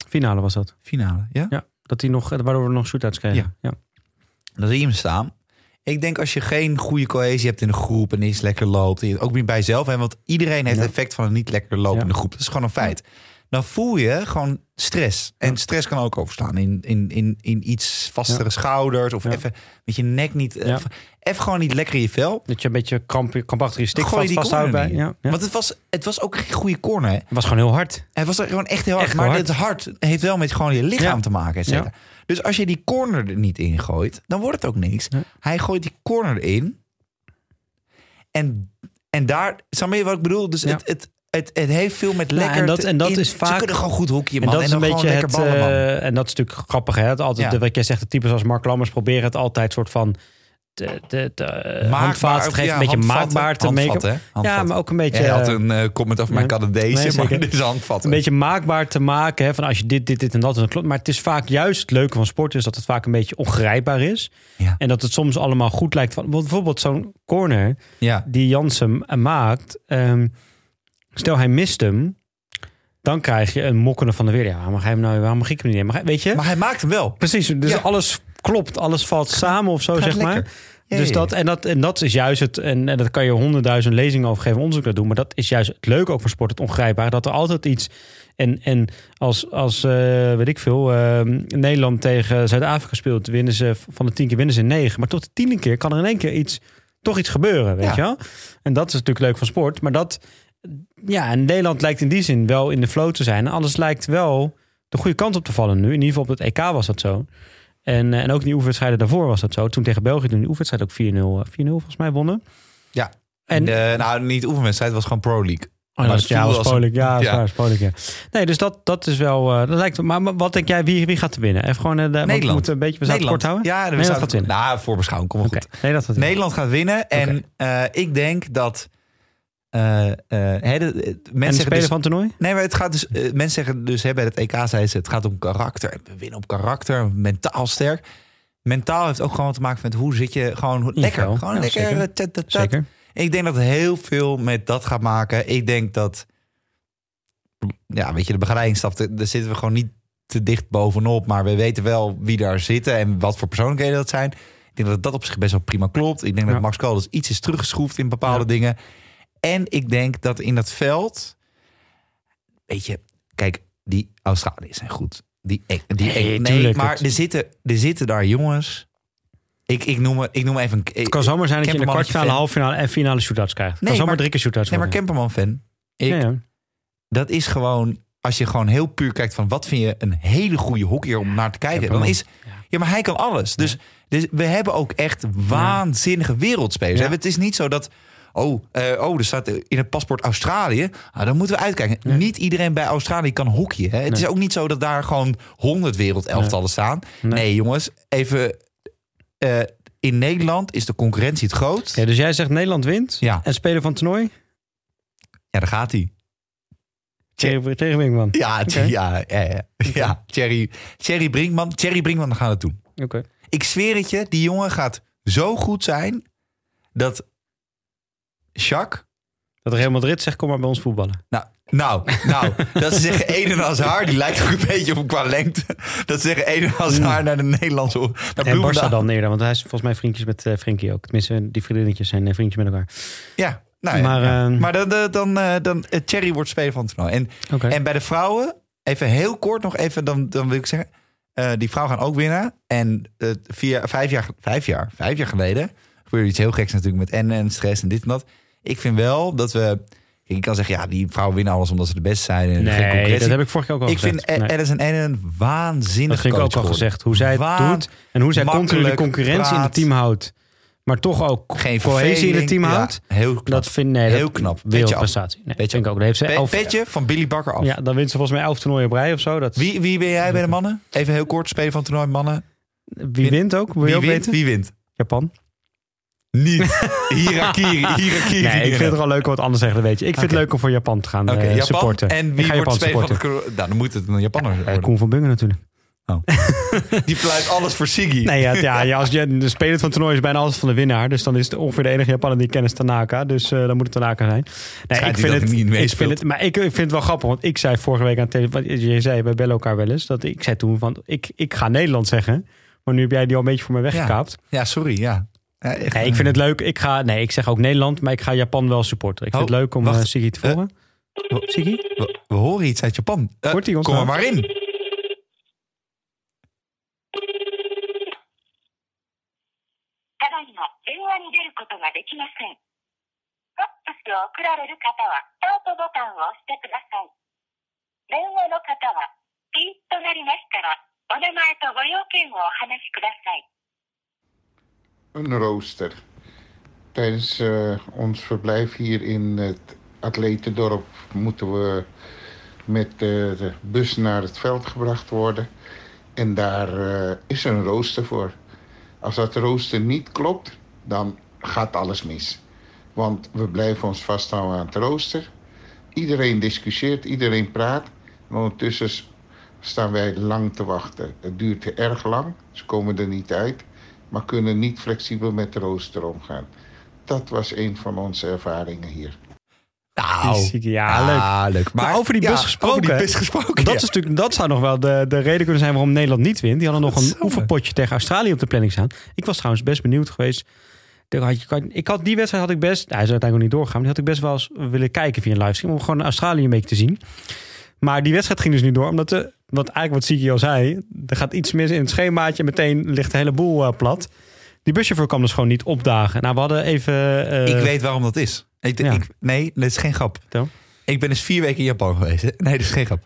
Speaker 1: Finale was dat.
Speaker 2: Finale, ja?
Speaker 1: Ja, dat hij nog, waardoor we nog shootouts kregen. Ja.
Speaker 2: Dan zie je hem staan. Ik denk als je geen goede cohesie hebt in de groep en iets lekker loopt. En je het ook niet bij jezelf hebt, want iedereen heeft
Speaker 1: Ja.
Speaker 2: het effect van een niet lekker lopende groep. Dat is gewoon een feit. Dan voel je gewoon stress. En stress kan ook overslaan in, in, in, in iets vastere schouders. Of
Speaker 1: Ja.
Speaker 2: even met je nek niet... eh,
Speaker 1: Ja.
Speaker 2: Even, even gewoon niet lekker in je vel.
Speaker 1: Dat je een beetje kramp, krampachtig je stick
Speaker 2: Gooi
Speaker 1: vast,
Speaker 2: die
Speaker 1: vasthoudt
Speaker 2: corner
Speaker 1: bij.
Speaker 2: niet.
Speaker 1: Ja, ja.
Speaker 2: Want het was, het was ook geen goede corner. Hè?
Speaker 1: Het was gewoon heel hard.
Speaker 2: Het was er gewoon echt heel hard.
Speaker 1: Echt
Speaker 2: maar
Speaker 1: hard.
Speaker 2: het hart heeft wel met gewoon je lichaam
Speaker 1: Ja.
Speaker 2: te maken. et cetera. Dus als je die corner er niet in gooit, dan wordt het ook niks.
Speaker 1: Nee.
Speaker 2: Hij gooit die corner erin. En, en daar, snap je wat ik bedoel? Dus
Speaker 1: Ja.
Speaker 2: het, het, het, het heeft veel met
Speaker 1: Nou,
Speaker 2: lekker
Speaker 1: en dat-
Speaker 2: te-
Speaker 1: en dat
Speaker 2: in-
Speaker 1: is
Speaker 2: Ze
Speaker 1: vaak-
Speaker 2: kunnen gewoon goed hoekje, man.
Speaker 1: En
Speaker 2: En,
Speaker 1: dat is een
Speaker 2: dan
Speaker 1: beetje
Speaker 2: gewoon
Speaker 1: het.
Speaker 2: lekker ballen, man.
Speaker 1: eh, en dat is natuurlijk grappig, hè? Dat altijd,
Speaker 2: Ja.
Speaker 1: de- wat jij zegt, de types als Mark Lammers proberen het altijd soort van. Te, te, te, eh, handvaat, het
Speaker 2: of
Speaker 1: geeft
Speaker 2: ja,
Speaker 1: een beetje
Speaker 2: handvatten.
Speaker 1: maakbaar te maken.
Speaker 2: Handvatten, hè?
Speaker 1: Ja,
Speaker 2: Handvatten.
Speaker 1: maar ook een beetje.
Speaker 2: Hij had
Speaker 1: eh,
Speaker 2: een eh, comment over mijn
Speaker 1: ja.
Speaker 2: Canadezen,
Speaker 1: Nee,
Speaker 2: maar
Speaker 1: zeker.
Speaker 2: dit is handvatten.
Speaker 1: een beetje maakbaar te maken. Hè, van als je dit, dit, dit en dat, dan klopt. Maar het is vaak juist het leuke van sport is dat het vaak een beetje ongrijpbaar is.
Speaker 2: Ja.
Speaker 1: En dat het soms allemaal goed lijkt. Van, want bijvoorbeeld zo'n corner
Speaker 2: Ja,
Speaker 1: die Jansen eh, maakt. ehm, stel hij mist hem. Dan krijg je een mokkende van de weer. Ja, waarom mag, hij hem nou, waarom mag ik hem niet nemen? Mag hij- Weet je?
Speaker 2: maar hij maakt hem wel.
Speaker 1: Precies, dus
Speaker 2: Ja.
Speaker 1: alles klopt, alles valt samen of zo,
Speaker 2: Gaat
Speaker 1: zeg
Speaker 2: lekker.
Speaker 1: maar.
Speaker 2: Ja,
Speaker 1: dus
Speaker 2: ja,
Speaker 1: dat, en, dat, en dat is juist het, en, en dat kan je honderdduizend lezingen over geven, onderzoek naar doen. Maar dat is juist het leuke ook van sport, het ongrijpbare. Dat er altijd iets, en, en als, als eh, weet ik veel, eh, Nederland tegen Zuid-Afrika speelt, winnen ze, van de tien keer winnen ze negen. Maar tot de tiende keer kan er in één keer iets, toch iets gebeuren, weet
Speaker 2: Ja.
Speaker 1: je wel? En dat is natuurlijk leuk van sport. Maar dat, ja, en Nederland lijkt in die zin wel in de flow te zijn. En alles lijkt wel de goede kant op te vallen nu. In ieder geval op het EK was dat zo. En, eh, en ook in die oefenwedstrijden daarvoor was dat zo. Toen tegen België, toen die oefenwedstrijd ook 4-0, eh, 4-0 volgens mij wonnen.
Speaker 2: Ja.
Speaker 1: En,
Speaker 2: En, eh, nou, niet oefenwedstrijd, het was gewoon Pro League.
Speaker 1: Oh,
Speaker 2: Maar
Speaker 1: dat was,
Speaker 2: het
Speaker 1: ja,
Speaker 2: voelde
Speaker 1: was
Speaker 2: als een-
Speaker 1: Polen. Ja, dat is
Speaker 2: ja.
Speaker 1: waar, was Polen, ja. Nee, dus dat, dat is wel... eh, dat lijkt, maar, maar wat denk jij, wie, wie gaat er winnen? Even gewoon... eh, de, want we
Speaker 2: Nederland.
Speaker 1: moeten een beetje... We zaten kort houden?
Speaker 2: Ja, we
Speaker 1: Nederland
Speaker 2: zaten-
Speaker 1: gaat winnen.
Speaker 2: Nou, voorbeschouwing, kom maar
Speaker 1: Oké,
Speaker 2: goed.
Speaker 1: Nederland gaat winnen.
Speaker 2: Nederland gaat winnen. En eh, ik denk dat... eh, eh, hè, de-
Speaker 1: En
Speaker 2: de- mensen
Speaker 1: de
Speaker 2: zeggen
Speaker 1: speler
Speaker 2: dus,
Speaker 1: van het toernooi?
Speaker 2: Nee, maar het gaat dus... eh, mensen zeggen dus, hè, bij het EK zeiden ze... het gaat om karakter. En We winnen op karakter, mentaal sterk. Mentaal heeft ook gewoon te maken met hoe zit je gewoon hoe- lekker.
Speaker 1: Niveau.
Speaker 2: Gewoon
Speaker 1: Ja,
Speaker 2: lekker.
Speaker 1: zeker.
Speaker 2: eh, tat, tat, tat.
Speaker 1: Zeker.
Speaker 2: Ik denk dat het heel veel met dat gaat maken. Ik denk dat... Ja, weet je, de begeleiding stapt... Daar zitten we gewoon niet te dicht bovenop. Maar we weten wel wie daar zitten en wat voor persoonlijkheden dat zijn. Ik denk dat dat op zich best wel prima klopt. Ik denk
Speaker 1: Ja.
Speaker 2: dat Max Colders iets is teruggeschroefd in bepaalde
Speaker 1: Ja.
Speaker 2: dingen. En ik denk dat in dat veld... Weet je, kijk, die Australiërs zijn goed. Die, E- die,
Speaker 1: Nee,
Speaker 2: nee,
Speaker 1: tuurlijk,
Speaker 2: maar
Speaker 1: het-
Speaker 2: er zitten, er zitten daar jongens... Ik, ik, noem, er- ik noem even... Een,
Speaker 1: Het kan zomaar zijn dat je in de
Speaker 2: Kemperman is
Speaker 1: kwartfinale,
Speaker 2: fan.
Speaker 1: halffinale en finale shootouts krijgt. Het
Speaker 2: Nee,
Speaker 1: kan zomaar
Speaker 2: maar-
Speaker 1: drie keer shootouts
Speaker 2: Nee, maar
Speaker 1: worden.
Speaker 2: Kemperman-fan. Ik,
Speaker 1: Ja, ja.
Speaker 2: dat is gewoon, als je gewoon heel puur kijkt van wat vind je een hele goede hockeyer om naar te kijken, dan
Speaker 1: Kemperman.
Speaker 2: is, ja, maar hij kan alles. Dus, dus we hebben ook echt waanzinnige wereldspelers.
Speaker 1: Ja.
Speaker 2: hè. Het is niet zo dat, oh, eh, oh, er staat in het paspoort Australië, ah, dan moeten we uitkijken. Niet iedereen bij Australië kan hockeyen. Hè? Het
Speaker 1: Nee.
Speaker 2: is ook niet zo dat daar gewoon 100 wereldelftallen staan.
Speaker 1: Nee.
Speaker 2: Nee. jongens, even, eh, in Nederland is de concurrentie het grootst.
Speaker 1: Ja, dus jij zegt Nederland wint.
Speaker 2: Ja.
Speaker 1: En speler van het toernooi?
Speaker 2: Ja, daar gaat hij.
Speaker 1: Tegen, tegen Winkman.
Speaker 2: Ja,
Speaker 1: Oké.
Speaker 2: ja, ja, ja, ja. Thierry, Thierry Brinkman. Thierry Brinkman, we gaan het doen.
Speaker 1: Oké.
Speaker 2: Ik zweer het je, die jongen gaat zo goed zijn dat Jacques...
Speaker 1: Dat Real Madrid zegt, kom maar bij ons voetballen.
Speaker 2: Nou, nou, nou dat ze zeggen Eden Hazard, die lijkt ook een beetje op hem qua lengte. Dat ze zeggen Eden Hazard naar de Nederlandse... Naar
Speaker 1: Hmm. En Barca
Speaker 2: Bloemendaal.
Speaker 1: dan eerder, want hij is volgens mij vriendjes met eh Frenkie ook. Tenminste, die vriendinnetjes zijn eh, vriendjes met elkaar.
Speaker 2: Ja, nou ja.
Speaker 1: Maar,
Speaker 2: Maar,
Speaker 1: ehm,
Speaker 2: maar dan, dan, dan, eh, dan eh, Thierry wordt speler van het toernooi. En
Speaker 1: Oké.
Speaker 2: En bij de vrouwen, even heel kort nog even, dan, dan wil ik zeggen, eh, die vrouwen gaan ook winnen. En eh, vier, vijf, jaar, vijf, jaar, vijf jaar geleden gebeurde iets heel geks natuurlijk met en en stress en dit en dat. Ik vind wel dat we, ik kan zeggen, ja, die vrouwen winnen alles omdat ze de beste zijn. En geen
Speaker 1: Nee,
Speaker 2: concurrentie.
Speaker 1: dat heb ik vorige keer ook al
Speaker 2: ik
Speaker 1: gezegd.
Speaker 2: vind e-
Speaker 1: Nee.
Speaker 2: Alison Eden waanzinnig
Speaker 1: Dat vind ik ook al gezegd. Hoe zij het
Speaker 2: Waar-
Speaker 1: doet en hoe zij continu de
Speaker 2: makkelijk
Speaker 1: concurrentie in het
Speaker 2: praat.
Speaker 1: team houdt. Maar toch ook
Speaker 2: Geen
Speaker 1: cohesie in het
Speaker 2: verveling.
Speaker 1: team
Speaker 2: Ja,
Speaker 1: houdt.
Speaker 2: heel knap.
Speaker 1: Dat vind nee, dat-
Speaker 2: Heel knap. Petje
Speaker 1: Wereldprestatie. Nee,
Speaker 2: Petje
Speaker 1: vind ik ook. Dat heeft ze
Speaker 2: Pe-
Speaker 1: elf,
Speaker 2: petje van Billy Bakker af.
Speaker 1: ja, dan wint ze volgens mij elf toernooien op rij of zo. Dat,
Speaker 2: Wie, wie ben jij bij de mannen? Even heel kort, spelen van het toernooi mannen.
Speaker 1: wie wint ook? Wil je
Speaker 2: Wie
Speaker 1: ook
Speaker 2: wint?
Speaker 1: weten?
Speaker 2: Wie wint?
Speaker 1: Japan.
Speaker 2: Niet. Hirakiri. Hirakiri.
Speaker 1: Nee, ik vind het wel leuk om wat anders zeggen, dat weet je. Ik vind
Speaker 2: Oké.
Speaker 1: het leuk om voor Japan te gaan
Speaker 2: Oké,
Speaker 1: eh,
Speaker 2: Japan.
Speaker 1: supporten.
Speaker 2: En
Speaker 1: ik
Speaker 2: wie
Speaker 1: ga
Speaker 2: wordt
Speaker 1: Japan
Speaker 2: speler van
Speaker 1: supporten.
Speaker 2: het corona- Nou, dan moet het een Japanner
Speaker 1: Eh,
Speaker 2: worden.
Speaker 1: Koen van Bungen natuurlijk.
Speaker 2: Die pleit alles voor Siggy.
Speaker 1: Nee, ja, ja, ja, als je, de speler van het toernooi is bijna altijd van de winnaar. Dus dan is het ongeveer de enige Japaner die ik ken is Tanaka. Dus eh, dan moet het Tanaka zijn. Nee,
Speaker 2: Schijnt hij dat hij niet
Speaker 1: ik vind
Speaker 2: meespeelt.
Speaker 1: het, maar ik, ik vind het wel grappig. Want ik zei vorige week aan de telefoon... want Je zei, wij bellen elkaar wel eens. Dat ik zei toen van, ik, ik ga Nederland zeggen. Maar nu heb jij die al een beetje voor me weggekaapt.
Speaker 2: Ja, sorry, ja. Ja, echt.
Speaker 1: Nee, ik vind het leuk. Ik ga, nee, ik zeg ook Nederland, maar ik ga Japan wel supporten. Ik vind
Speaker 2: Oh,
Speaker 1: het leuk om
Speaker 2: wacht.
Speaker 1: eh, Sigi te
Speaker 2: Eh,
Speaker 1: volgen. Sigi?
Speaker 2: We, we horen iets uit Japan. Eh,
Speaker 1: Hoort hij ons
Speaker 2: kom er
Speaker 1: nou?
Speaker 2: maar in.
Speaker 3: ただいま電話に出ることができません。ファックスを送られる方は、スタートボタンを押してください。電話の方は、ピーッとなりましたら、お名前とご用件をお話しください。
Speaker 4: een rooster. Tijdens eh, ons verblijf hier in het atletendorp moeten we met eh, de bus naar het veld gebracht worden. En daar eh, is een rooster voor. Als dat rooster niet klopt, dan gaat alles mis. Want we blijven ons vasthouden aan het rooster. Iedereen discussieert, iedereen praat. En ondertussen s- staan wij lang te wachten. Het duurt erg lang, ze komen er niet uit maar kunnen niet flexibel met de rooster omgaan. Dat was een van onze ervaringen hier.
Speaker 1: Die
Speaker 2: Nou,
Speaker 1: Sigi, ja, leuk.
Speaker 2: ah, leuk. Maar,
Speaker 1: Maar over die
Speaker 2: ja,
Speaker 1: bus gesproken.
Speaker 2: Over
Speaker 1: hè?
Speaker 2: die bus gesproken.
Speaker 1: Dat,
Speaker 2: ja.
Speaker 1: is natuurlijk, dat zou nog wel de, de reden kunnen zijn waarom Nederland niet wint. Die hadden nog een
Speaker 2: Godsamme.
Speaker 1: oefenpotje tegen Australië op de planning staan. Ik was trouwens best benieuwd geweest daar had je- kan- ik had die wedstrijd had ik best, nou, hij is uiteindelijk niet doorgegaan, maar die had ik best wel eens willen kijken via een livestream om gewoon Australië een beetje te zien. Maar die wedstrijd ging dus niet door, omdat de, wat eigenlijk wat Siki al zei, er gaat iets mis in het schemaatje en meteen ligt de hele boel eh, plat. Die buschauffeur kwam dus gewoon niet opdagen. Nou, we hadden even... eh,
Speaker 2: ik weet waarom dat is. Ik,
Speaker 1: ja.
Speaker 2: ik- nee, dat is geen grap.
Speaker 1: vertel.
Speaker 2: Ik ben eens vier weken in Japan geweest. hè. Nee, dat is geen grap.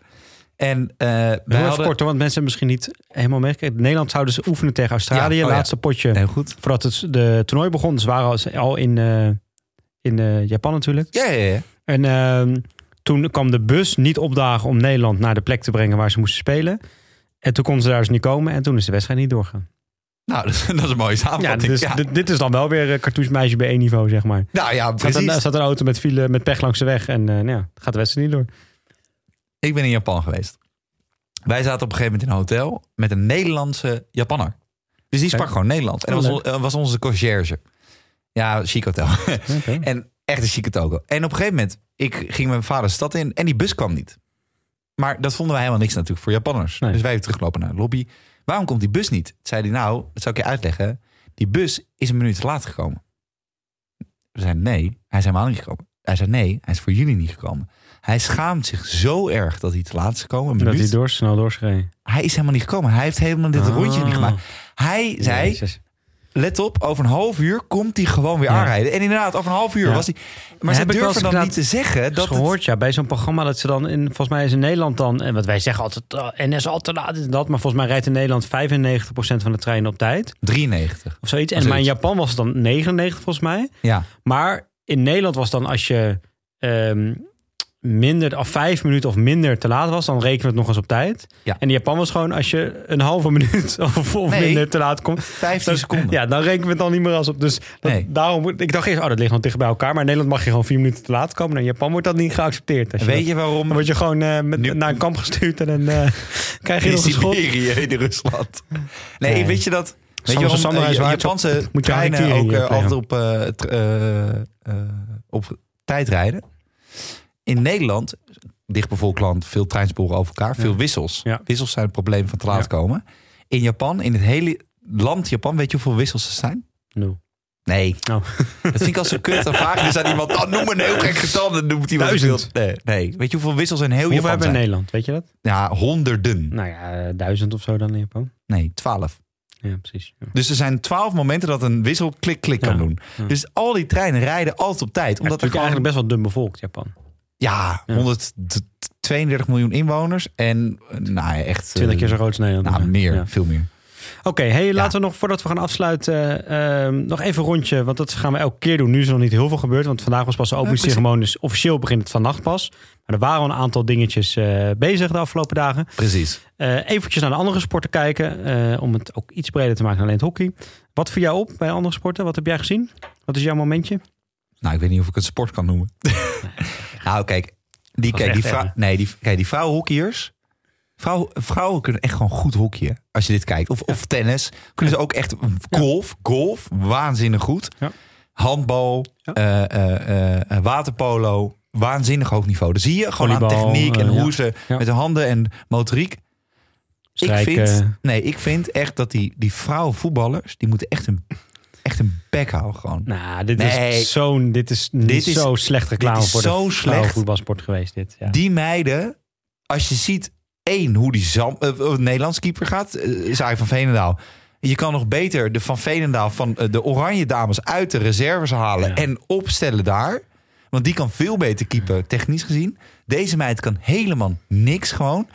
Speaker 2: En eh
Speaker 1: Heel
Speaker 2: wij
Speaker 1: even
Speaker 2: hadden...
Speaker 1: kort hoor, want mensen hebben misschien niet helemaal meegekregen. Nederland zouden ze oefenen tegen Australië,
Speaker 2: Ja, oh ja.
Speaker 1: laatste potje.
Speaker 2: Heel goed.
Speaker 1: Voordat het de toernooi begon, ze waren al- ze al in, eh, in eh, Japan natuurlijk.
Speaker 2: Ja, ja, ja.
Speaker 1: En ehm, toen kwam de bus niet opdagen om Nederland naar de plek te brengen waar ze moesten spelen. En toen konden ze daar dus niet komen en toen is de wedstrijd niet doorgegaan.
Speaker 2: Nou, dat, is- dat is een mooie
Speaker 1: Ja,
Speaker 2: samenvatting.
Speaker 1: dus
Speaker 2: Ja.
Speaker 1: dit- dit is dan wel weer eh, cartouchemeisje bij één niveau, zeg maar.
Speaker 2: Nou ja,
Speaker 1: Er zat,
Speaker 2: precies.
Speaker 1: een- er zat een auto met, file, met pech langs de weg en eh, nou ja, gaat de wedstrijd niet door.
Speaker 2: Ik ben in Japan geweest. Wij zaten op een gegeven moment in een hotel met een Nederlandse Japanner. Dus die sprak
Speaker 1: Oké.
Speaker 2: gewoon Nederlands. En dat
Speaker 1: Oh,
Speaker 2: was, on- eh, was onze conciërge. Ja, chic hotel.
Speaker 1: Oké.
Speaker 2: En echt een chique toko. En op een gegeven moment, ik ging met mijn vader de stad in en die bus kwam niet. Maar dat vonden wij helemaal niks natuurlijk voor Japanners.
Speaker 1: Nee.
Speaker 2: Dus wij hebben teruggelopen naar de lobby. Waarom komt die bus niet? Toen zei hij, nou, dat zou ik je uitleggen. Die bus is een minuut te laat gekomen. We zeiden, nee, hij is helemaal niet gekomen. Hij zei, nee, hij is voor jullie niet gekomen. Hij schaamt zich zo erg dat hij te laat is gekomen. Een
Speaker 1: Dat
Speaker 2: minuut.
Speaker 1: hij
Speaker 2: Hij,
Speaker 1: door, snel doorschreef.
Speaker 2: is helemaal niet gekomen. Hij heeft helemaal dit
Speaker 1: Ah.
Speaker 2: rondje niet gemaakt. Hij zei,
Speaker 1: Jezus.
Speaker 2: let op, over een half uur komt hij gewoon weer
Speaker 1: Ja.
Speaker 2: aanrijden. En inderdaad, over een half uur
Speaker 1: Ja.
Speaker 2: was hij... Maar ze
Speaker 1: Heb ik wel eens
Speaker 2: durven dan
Speaker 1: gedaan-
Speaker 2: niet te zeggen
Speaker 1: dat
Speaker 2: dat
Speaker 1: is
Speaker 2: het-
Speaker 1: gehoord, ja. Bij zo'n programma dat ze dan in, volgens mij is in Nederland dan, en wat wij zeggen altijd, oh, NS altijd laat dit en dat, maar volgens mij rijdt in Nederland 95% van de treinen op tijd
Speaker 2: 93.
Speaker 1: of zoiets. En
Speaker 2: Zoiets.
Speaker 1: maar in Japan was het dan 99 volgens mij.
Speaker 2: Ja.
Speaker 1: Maar in Nederland was dan als je ehm, minder, of vijf minuten of minder te laat was, dan rekenen we het nog eens op tijd.
Speaker 2: Ja.
Speaker 1: En in Japan was gewoon als je een halve minuut of, of
Speaker 2: Nee.
Speaker 1: minder te laat komt,
Speaker 2: 15
Speaker 1: dan-
Speaker 2: seconden.
Speaker 1: Ja, dan rekenen we het dan niet meer als op. Dus dat-
Speaker 2: Nee.
Speaker 1: daarom, moet- ik dacht eerst, oh, dat ligt nog dicht bij elkaar. Maar in Nederland mag je gewoon vier minuten te laat komen. Nou, in Japan wordt dat niet geaccepteerd. Als je
Speaker 2: Weet
Speaker 1: dat-
Speaker 2: je waarom?
Speaker 1: dan word je gewoon eh, met,
Speaker 2: Nu-
Speaker 1: naar een kamp gestuurd en dan eh, krijg je
Speaker 2: in
Speaker 1: nog een schot.
Speaker 2: Siberië, in Rusland. Nee,
Speaker 1: Nee.
Speaker 2: weet je dat? Weet je
Speaker 1: Sommige
Speaker 2: waarom
Speaker 1: samurai's
Speaker 2: eh,
Speaker 1: waren
Speaker 2: Japanse
Speaker 1: moet je
Speaker 2: treinen
Speaker 1: harakiri,
Speaker 2: ook eh,
Speaker 1: eh, plegen.
Speaker 2: altijd op, eh, tr- eh, eh, op tijd rijden? In Nederland, dichtbevolkt land, veel treinsporen over elkaar, veel wissels.
Speaker 1: Ja.
Speaker 2: Wissels zijn het probleem van te laat
Speaker 1: Ja.
Speaker 2: komen. In Japan, in het hele land Japan, weet je hoeveel wissels er zijn?
Speaker 1: Nul.
Speaker 2: Nee.
Speaker 1: Oh.
Speaker 2: Dat vind ik als een kut. Dan vraag je dus aan iemand, oh, noem een heel gek getal. Dan noemt iemand
Speaker 1: Duizend.
Speaker 2: veel. Nee, nee. Weet je hoeveel wissels in heel
Speaker 1: Hoeveel
Speaker 2: Japan
Speaker 1: hebben we in
Speaker 2: zijn?
Speaker 1: Nederland? Weet je dat?
Speaker 2: Ja, honderden.
Speaker 1: Nou ja, eh, duizend of zo dan in Japan.
Speaker 2: Nee, twaalf.
Speaker 1: Ja, precies. Ja.
Speaker 2: Dus er zijn twaalf momenten dat een wissel klik-klik
Speaker 1: Ja.
Speaker 2: kan doen.
Speaker 1: Ja.
Speaker 2: Dus al die treinen rijden altijd op tijd. Omdat
Speaker 1: Omdat
Speaker 2: er
Speaker 1: het
Speaker 2: gewoon,
Speaker 1: eigenlijk best wel dun bevolkt, Japan.
Speaker 2: Ja,
Speaker 1: Ja.
Speaker 2: 132 miljoen inwoners. En eh, nou ja, echt... eh,
Speaker 1: 20 keer zo groot als Nederland.
Speaker 2: Nou,
Speaker 1: Ja.
Speaker 2: meer.
Speaker 1: Ja.
Speaker 2: Veel meer.
Speaker 1: Oké, hey, laten we nog voordat we gaan afsluiten, eh, ehm, nog even een rondje. Want dat gaan we elke keer doen. Nu is er nog niet heel veel gebeurd. Want vandaag was pas de openingsceremonie. Dus officieel begint het vannacht pas. Maar er waren al een aantal dingetjes eh, bezig de afgelopen dagen.
Speaker 2: Precies.
Speaker 1: Eh eventjes naar de andere sporten kijken. eh, om het ook iets breder te maken dan alleen het hockey. Wat viel jou op bij andere sporten? Wat heb jij gezien? Wat is jouw momentje?
Speaker 2: Nou, ik weet niet of ik het sport kan noemen. nou, kijk. Die,
Speaker 1: was
Speaker 2: kijk, die,
Speaker 1: echt
Speaker 2: vrou-
Speaker 1: erg.
Speaker 2: nee, die, kijk die vrouwenhockeyers. Vrouw, vrouwen kunnen echt gewoon goed hockeyen. Als je dit kijkt. Of, of tennis. Kunnen ze ook echt golf. Golf. Waanzinnig goed.
Speaker 1: Ja.
Speaker 2: Handbal.
Speaker 1: Ja.
Speaker 2: eh, eh, eh, waterpolo. Waanzinnig hoog niveau. Dat zie je gewoon aan
Speaker 1: Volleybal,
Speaker 2: techniek en
Speaker 1: eh, ja.
Speaker 2: hoe ze
Speaker 1: Ja.
Speaker 2: met de handen en motoriek.
Speaker 1: Strijken.
Speaker 2: Ik vind, nee, ik vind echt dat die, die vrouwenvoetballers, die moeten echt een, echt een bek houden gewoon.
Speaker 1: Nou, dit
Speaker 2: Nee.
Speaker 1: is zo'n dit is
Speaker 2: Dit is-
Speaker 1: zo slecht reclame
Speaker 2: dit is
Speaker 1: voor
Speaker 2: zo
Speaker 1: de
Speaker 2: slecht.
Speaker 1: voetbalsport geweest. Dit. Ja.
Speaker 2: Die meiden, als je ziet, één, hoe die Zam, eh, eh, Nederlands keeper gaat, uh, van Veenendaal. Je kan nog beter de van Veenendaal van eh, de Oranje Dames uit de reserves halen
Speaker 1: Ja.
Speaker 2: en opstellen daar. Want die kan veel beter keeper, technisch gezien. Deze meid kan helemaal niks gewoon.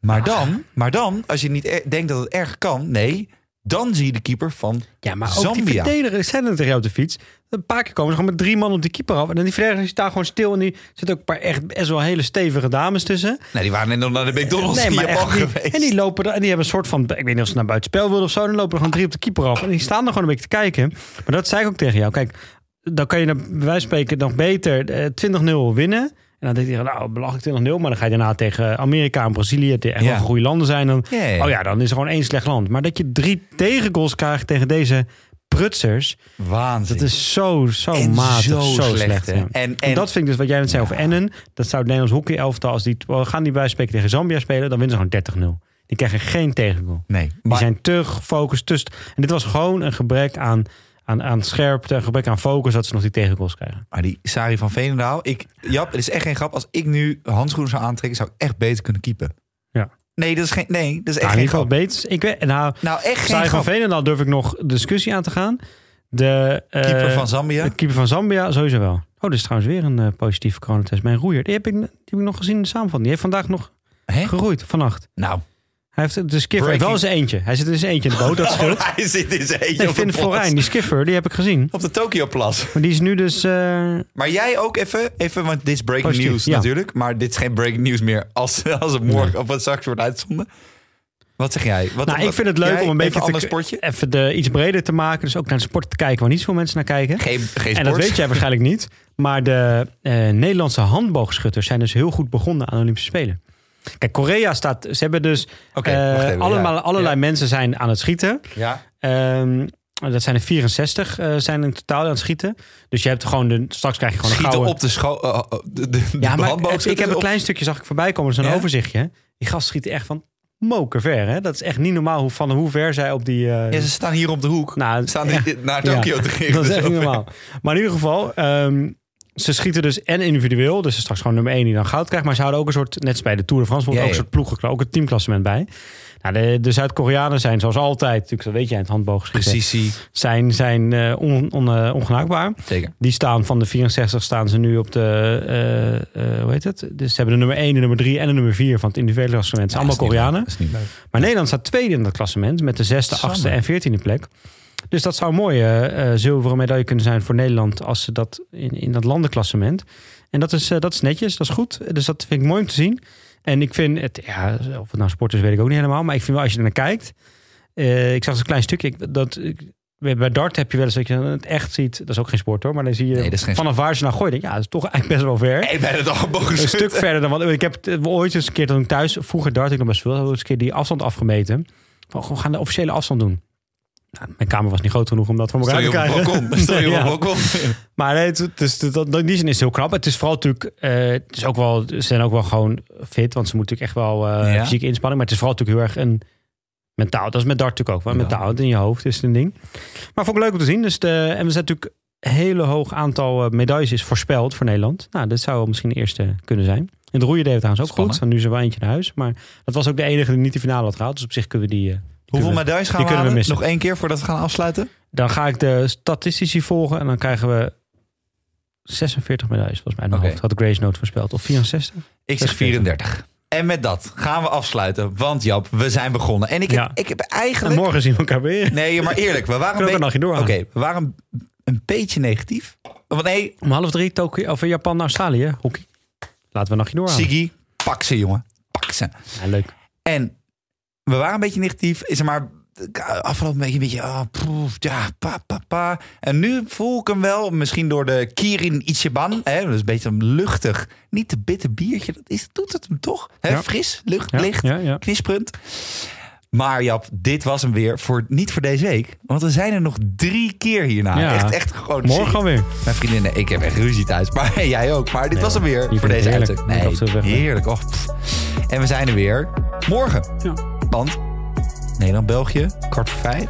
Speaker 2: Maar dan, maar dan als je niet e- denkt dat het erg kan, nee, dan zie je de keeper van
Speaker 1: Ja, maar ook die
Speaker 2: Zambia.
Speaker 1: verdedigers zijn er tegen jou op de fiets. Een paar keer komen ze gewoon met drie man op die keeper af. En dan die verdediger die staat gewoon stil. En die zitten ook een paar echt best wel hele stevige dames tussen.
Speaker 2: Nou, die waren net nog naar de McDonald's in Japan
Speaker 1: echt niet.
Speaker 2: geweest.
Speaker 1: En die lopen er, en die hebben een soort van, ik weet niet of ze naar buitenspel wilden of zo. Dan lopen er gewoon drie op de keeper af. En die staan er gewoon een beetje te kijken. Maar dat zei ik ook tegen jou. Kijk, dan kan je dan, bij wijze van spreken nog beter eh, 20-0 winnen. En dan denk je, nou belachelijk 20-0. Maar dan ga je daarna tegen Amerika en Brazilië, die echt
Speaker 2: Ja.
Speaker 1: wel goede landen zijn. Dan,
Speaker 2: Ja, ja, ja.
Speaker 1: Oh ja, dan is er gewoon één slecht land. Maar dat je drie tegengoals krijgt tegen deze prutsers.
Speaker 2: Waanzin.
Speaker 1: Het is zo, zo
Speaker 2: En
Speaker 1: matig,
Speaker 2: zo
Speaker 1: zo,
Speaker 2: slecht,
Speaker 1: slecht.
Speaker 2: hè?
Speaker 1: ja.
Speaker 2: En-
Speaker 1: en,
Speaker 2: en-
Speaker 1: dat vind ik dus wat jij net zei over Ennen. Dat zou het Nederlands hockeyelftal, als die wel, gaan die bij spreken tegen Zambia spelen, dan winnen ze gewoon 30-0. Die krijgen geen tegengoal.
Speaker 2: nee,
Speaker 1: Die
Speaker 2: maar-
Speaker 1: zijn te gefocust. te st- en dit was gewoon een gebrek aan, aan, aan scherpte, gebrek aan focus, dat ze nog die tegengoals krijgen.
Speaker 2: Maar die Sari van Veenendaal. Ik, Jap, het is echt geen grap. Als ik nu handschoenen zou aantrekken, zou ik echt beter kunnen keepen.
Speaker 1: Ja.
Speaker 2: Nee, dat is, geen, nee, dat is echt
Speaker 1: Nou, in
Speaker 2: geen
Speaker 1: ieder geval
Speaker 2: grap.
Speaker 1: beters. Ik weet, nou,
Speaker 2: Nou, echt geen
Speaker 1: Sai van
Speaker 2: grap.
Speaker 1: Veenendaal durf ik nog discussie aan te gaan. De eh,
Speaker 2: Keeper van Zambia.
Speaker 1: de keeper van Zambia, sowieso wel. Oh, dit is trouwens weer een eh, positieve coronatest. Mijn roeier, die heb, ik, die heb ik nog gezien in de samenvatting. Die heeft vandaag nog
Speaker 2: Hè?
Speaker 1: geroeid, vannacht.
Speaker 2: Nou,
Speaker 1: Hij heeft, de skiffer heeft wel
Speaker 2: Breaking.
Speaker 1: zijn eentje. Hij zit in zijn eentje in de boot, dat scheelt.
Speaker 2: hij zit in zijn eentje
Speaker 1: Nee,
Speaker 2: op de
Speaker 1: Finn
Speaker 2: plas.
Speaker 1: Florijn, die skiffer, die heb ik gezien.
Speaker 2: Op de Tokioplas.
Speaker 1: Maar die is nu dus... eh,
Speaker 2: Maar jij ook even, even want dit is breaking
Speaker 1: Positief,
Speaker 2: news
Speaker 1: ja.
Speaker 2: natuurlijk. Maar dit is geen breaking news meer als, als het morgen of wat straks wordt uitgezonden. Wat zeg jij? Wat,
Speaker 1: nou, ik
Speaker 2: wat-
Speaker 1: vind het leuk
Speaker 2: jij
Speaker 1: om een beetje
Speaker 2: even
Speaker 1: te-
Speaker 2: ander sportje.
Speaker 1: even de, iets breder te maken. Dus ook naar de sport te kijken waar niet zoveel mensen naar kijken.
Speaker 2: Geen, geen sport.
Speaker 1: En dat weet jij waarschijnlijk niet. Maar de eh, Nederlandse handboogschutters zijn dus heel goed begonnen aan de Olympische Spelen. Kijk, Korea staat. Ze hebben dus.
Speaker 2: Oké,
Speaker 1: eh,
Speaker 2: wacht even, ja.
Speaker 1: allemaal, allerlei
Speaker 2: Ja.
Speaker 1: mensen zijn aan het schieten.
Speaker 2: Ja.
Speaker 1: Ehm, dat zijn er 64 eh, zijn in totaal aan het schieten. Dus je hebt gewoon de. Straks krijg je gewoon
Speaker 2: Schieten
Speaker 1: een gouden.
Speaker 2: op de school. eh, de, de, de
Speaker 1: ja, maar
Speaker 2: handboogschutters
Speaker 1: ik heb een
Speaker 2: of-
Speaker 1: klein stukje zag ik voorbij komen. Zo'n
Speaker 2: Ja?
Speaker 1: overzichtje. Die gast schiet echt van moker ver. Hè? Dat is echt niet normaal hoe, van hoe ver zij op die. eh,
Speaker 2: Ja, ze staan hier op de hoek.
Speaker 1: Nou,
Speaker 2: staan die-
Speaker 1: ja.
Speaker 2: naar Tokio
Speaker 1: Ja,
Speaker 2: te geven.
Speaker 1: Dat is
Speaker 2: Dus
Speaker 1: echt niet
Speaker 2: over-
Speaker 1: normaal. Maar in ieder geval, ehm, ze schieten dus en individueel. Dus straks gewoon nummer één die dan goud krijgt. Maar ze houden ook een soort, net als bij de Tour de France,
Speaker 2: Ja,
Speaker 1: bijvoorbeeld
Speaker 2: ja.
Speaker 1: ook een soort ploegen, ook een teamklassement bij. Nou, de, de Zuid-Koreanen zijn zoals altijd, natuurlijk, dat weet jij, in het handboogschieten,
Speaker 2: Precisie.
Speaker 1: zijn, zijn eh, on, on, eh, ongenaakbaar.
Speaker 2: Zeker.
Speaker 1: Die staan van de 64 staan ze nu op de, eh, eh, hoe heet het? Dus ze hebben de nummer 1, de nummer 3 en de nummer 4 van het individuele klassement. Het zijn allemaal Koreanen.
Speaker 2: Dat is niet leuk.
Speaker 1: Maar Nederland staat tweede in dat klassement met de zesde,
Speaker 2: Samen.
Speaker 1: achtste en veertiende plek. Dus dat zou een mooie eh, zilveren medaille kunnen zijn voor Nederland als ze dat in, in dat landenklassement. En dat is, eh, dat is netjes, dat is goed. Dus dat vind ik mooi om te zien. En ik vind het, ja, of het nou sport is, weet ik ook niet helemaal. Maar ik vind wel als je er naar kijkt. eh, ik zag een klein stukje. ik- dat, ik- bij dart heb je wel eens dat je het echt ziet. Dat is ook geen sport hoor. Maar dan zie je
Speaker 2: Nee, dat is geen
Speaker 1: vanaf waar ze naar gooien. denk je, Ja, dat is toch eigenlijk best wel ver
Speaker 2: Hey, bij het
Speaker 1: een
Speaker 2: handboogschutter.
Speaker 1: stuk verder dan wat. Ik heb het ooit eens een keer toen ik thuis vroeger dart ik nog best veel, heb ik eens een keer die afstand afgemeten. Van, we gaan de officiële afstand doen. Nou, mijn kamer was niet groot genoeg om dat voor
Speaker 2: Stel
Speaker 1: elkaar
Speaker 2: je
Speaker 1: te
Speaker 2: op een
Speaker 1: krijgen.
Speaker 2: balkon. Stel je op
Speaker 1: Ja.
Speaker 2: een balkon.
Speaker 1: Maar nee, het, het is, dat, dat- in die zin is het heel knap. Het is vooral natuurlijk, eh, het is ook wel, ze zijn ook wel gewoon fit, want ze moeten natuurlijk echt wel eh,
Speaker 2: Ja.
Speaker 1: fysieke inspanning. Maar het is vooral natuurlijk heel erg een mentaal. Dat is met dart natuurlijk ook wel. Mentaal, het in je hoofd is het een ding. Maar vond ik leuk om te zien. Dus de, en we zijn natuurlijk een hele hoog aantal eh, medailles is voorspeld voor Nederland. Nou, dit zou misschien de eerste kunnen zijn. En de roeien deed het trouwens ook
Speaker 2: Spannend.
Speaker 1: goed. Want nu is er wel eentje naar huis. Maar dat was ook de enige die niet de finale had gehaald. Dus op zich kunnen we die... eh,
Speaker 2: Hoeveel
Speaker 1: kunnen we-
Speaker 2: medailles gaan
Speaker 1: die
Speaker 2: we
Speaker 1: kunnen we
Speaker 2: halen?
Speaker 1: missen.
Speaker 2: Nog één keer voordat we gaan afsluiten?
Speaker 1: Dan ga ik de statistici volgen en dan krijgen we 46 medailles volgens mij. In mijn
Speaker 2: Oké.
Speaker 1: hoofd. Had Grace Note voorspeld. Of 64?
Speaker 2: Ik zeg 34. En met dat gaan we afsluiten. Want Jap, we zijn begonnen. En ik heb,
Speaker 1: Ja.
Speaker 2: ik heb
Speaker 1: En
Speaker 2: eigenlijk...
Speaker 1: morgen zien we elkaar weer.
Speaker 2: Nee, maar eerlijk. We waren
Speaker 1: Kunnen we
Speaker 2: een
Speaker 1: ook een
Speaker 2: beetje...
Speaker 1: nachtje
Speaker 2: Oké,
Speaker 1: doorhalen.
Speaker 2: we waren een beetje negatief. Want nee,
Speaker 1: Om half drie Tokio, of Japan naar Australië. Hockey. Laten we een nachtje doorhalen.
Speaker 2: Siggy, pak ze jongen. Pak ze.
Speaker 1: Ja, leuk.
Speaker 2: En we waren een beetje negatief. Is er maar afgelopen beetje een beetje... ah, poef, ja, pa, pa, pa. En nu voel ik hem wel. Misschien door de Kirin Ichiban. Hè, dat is een beetje een luchtig. Niet te bitter biertje. Dat is, doet het hem toch? Hè,
Speaker 1: Ja.
Speaker 2: Fris, lucht,
Speaker 1: Ja,
Speaker 2: licht,
Speaker 1: ja, ja.
Speaker 2: knisperend. Maar Jap, dit was hem weer. Voor, niet voor deze week. Want we zijn er nog drie keer hierna.
Speaker 1: Ja.
Speaker 2: Echt, echt gewoon...
Speaker 1: Morgen weer.
Speaker 2: Mijn vriendinnen, ik heb echt ruzie thuis. Maar jij ook. Maar dit was hem weer
Speaker 1: je
Speaker 2: voor
Speaker 1: vindt
Speaker 2: deze
Speaker 1: het heerlijk.
Speaker 2: uitzending.
Speaker 1: Ik dacht zo weg, hè.
Speaker 2: heerlijk. Och, pff. en we zijn er weer morgen.
Speaker 1: Ja.
Speaker 2: Want Nederland-België, kwart voor vijf.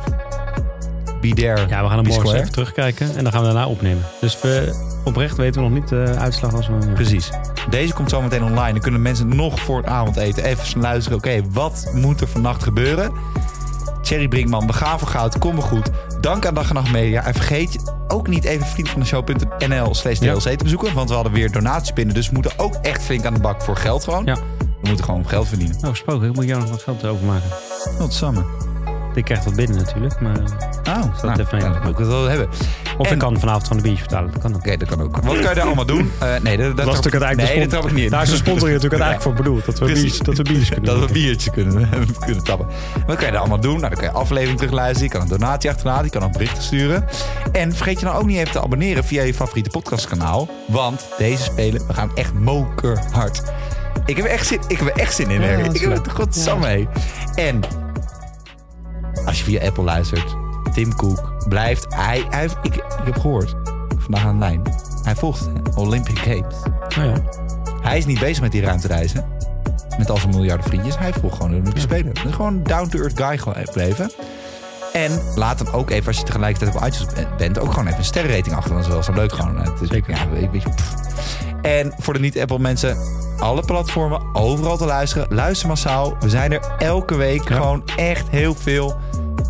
Speaker 2: Be there,
Speaker 1: Ja, we gaan hem morgen
Speaker 2: be
Speaker 1: eens
Speaker 2: square.
Speaker 1: even terugkijken. En dan gaan we daarna opnemen. Dus we, oprecht weten we nog niet de uitslag als we...
Speaker 2: Precies. Deze komt zo meteen online. Dan kunnen mensen nog voor het avondeten even luisteren. Oké, wat moet er vannacht gebeuren? Thierry Brinkman, we gaan voor goud. Kom maar goed. Dank aan Dag en Nacht Media. En vergeet ook niet even vriendvandeshow.nl slash DLC te bezoeken. Want we hadden weer donaties binnen. Dus we moeten ook echt flink aan de bak voor geld gewoon.
Speaker 1: Ja.
Speaker 2: We moeten gewoon geld verdienen.
Speaker 1: Nou, gesproken. Ik moet jou nog wat geld overmaken.
Speaker 2: Tot samen.
Speaker 1: Ik krijg dat binnen natuurlijk. Maar, eh,
Speaker 2: Oh, nou,
Speaker 1: dat even
Speaker 2: nou,
Speaker 1: nemen.
Speaker 2: dan moet ik het wel hebben.
Speaker 1: of
Speaker 2: En-
Speaker 1: ik kan vanavond van de biertje betalen. Dat kan ook.
Speaker 2: Oké, dat kan ook. Wat kan je daar allemaal doen? Eh, nee, dat, dat,
Speaker 1: Dat is
Speaker 2: trap-
Speaker 1: natuurlijk uiteindelijk
Speaker 2: nee,
Speaker 1: de
Speaker 2: dat trap ik
Speaker 1: sponsor.
Speaker 2: niet in.
Speaker 1: Daar is de sponsor hier natuurlijk
Speaker 2: Nee.
Speaker 1: uiteindelijk voor bedoeld. Dat we
Speaker 2: Precies.
Speaker 1: biertjes, dat we biertjes kunnen
Speaker 2: dat we
Speaker 1: drinken.
Speaker 2: een biertje kunnen, kunnen tappen. Wat kan je daar allemaal doen? Nou, dan kan je aflevering terugluisteren. Je kan een donatie achterlaten. Je kan ook berichten sturen. En vergeet je dan ook niet even te abonneren via je favoriete podcastkanaal. Want deze spelen, we gaan echt mokerhard. Ik heb er echt zin, ik heb er echt zin in.
Speaker 1: Ja,
Speaker 2: hè.
Speaker 1: dat is
Speaker 2: ik heb
Speaker 1: leuk.
Speaker 2: het godsam mee. En als je via Apple luistert, Tim Cook blijft... Hij, hij, heeft- ik, ik heb gehoord, vandaag aan de lijn, hij volgt de Olympic Games.
Speaker 1: Nou ja.
Speaker 2: Hij is niet bezig met die ruimtereizen. Met al zijn miljarden vriendjes. Hij volgt gewoon de Olympische Spelen. Dat is gewoon een down-to-earth guy gebleven. En laat dan ook even, als je tegelijkertijd op iTunes be- bent, ook gewoon even een sterrenrating achter. Dat is wel zo leuk gewoon. Het is,
Speaker 1: Zeker.
Speaker 2: Ja, een beetje, pff. En voor de niet-Apple mensen, alle platformen, overal te luisteren. Luister massaal. We zijn er elke week gewoon echt heel veel.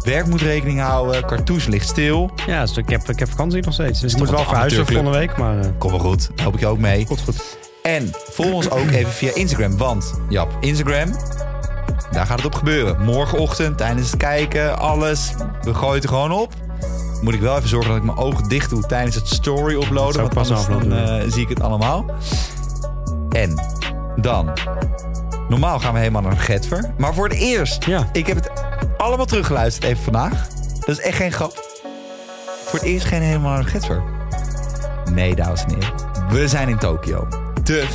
Speaker 2: Werk moet rekening houden. Cartouche ligt stil.
Speaker 1: Ja, dus ik, heb, ik heb vakantie nog steeds. Dus ik moet
Speaker 2: toch
Speaker 1: wel
Speaker 2: een
Speaker 1: verhuizen volgende week, maar eh,
Speaker 2: Kom maar goed, help ik je ook mee.
Speaker 1: komt goed.
Speaker 2: En volg ons ook even via Instagram. Want, Jap, Instagram, daar gaat het op gebeuren. Morgenochtend, tijdens het kijken, alles. We gooien het er gewoon op. Moet ik wel even zorgen dat ik mijn ogen dicht doe tijdens het story
Speaker 1: Dat
Speaker 2: uploaden.
Speaker 1: zou
Speaker 2: Want
Speaker 1: ik pas
Speaker 2: anders dan,
Speaker 1: uploaden,
Speaker 2: eh, zie ik het allemaal. En dan. Normaal gaan we helemaal naar Getver. Maar voor het eerst.
Speaker 1: Ja.
Speaker 2: Ik heb het allemaal teruggeluisterd even vandaag. Dat is echt geen grap. Voor het eerst geen helemaal naar Getver. Nee, dames en heren. We zijn in Tokio. De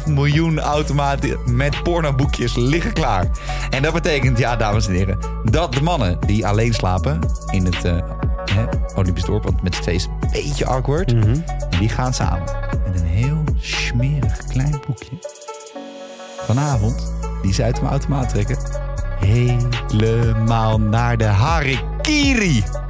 Speaker 2: 5,5 miljoen automaten met pornoboekjes liggen klaar. En dat betekent, ja, dames en heren, dat de mannen die alleen slapen in het eh, hè, Olympisch dorp, want met z'n tweeën is het een beetje awkward, die gaan samen met een heel smerig klein boekje. Vanavond die ze uit de automaat trekken, helemaal naar de harikiri.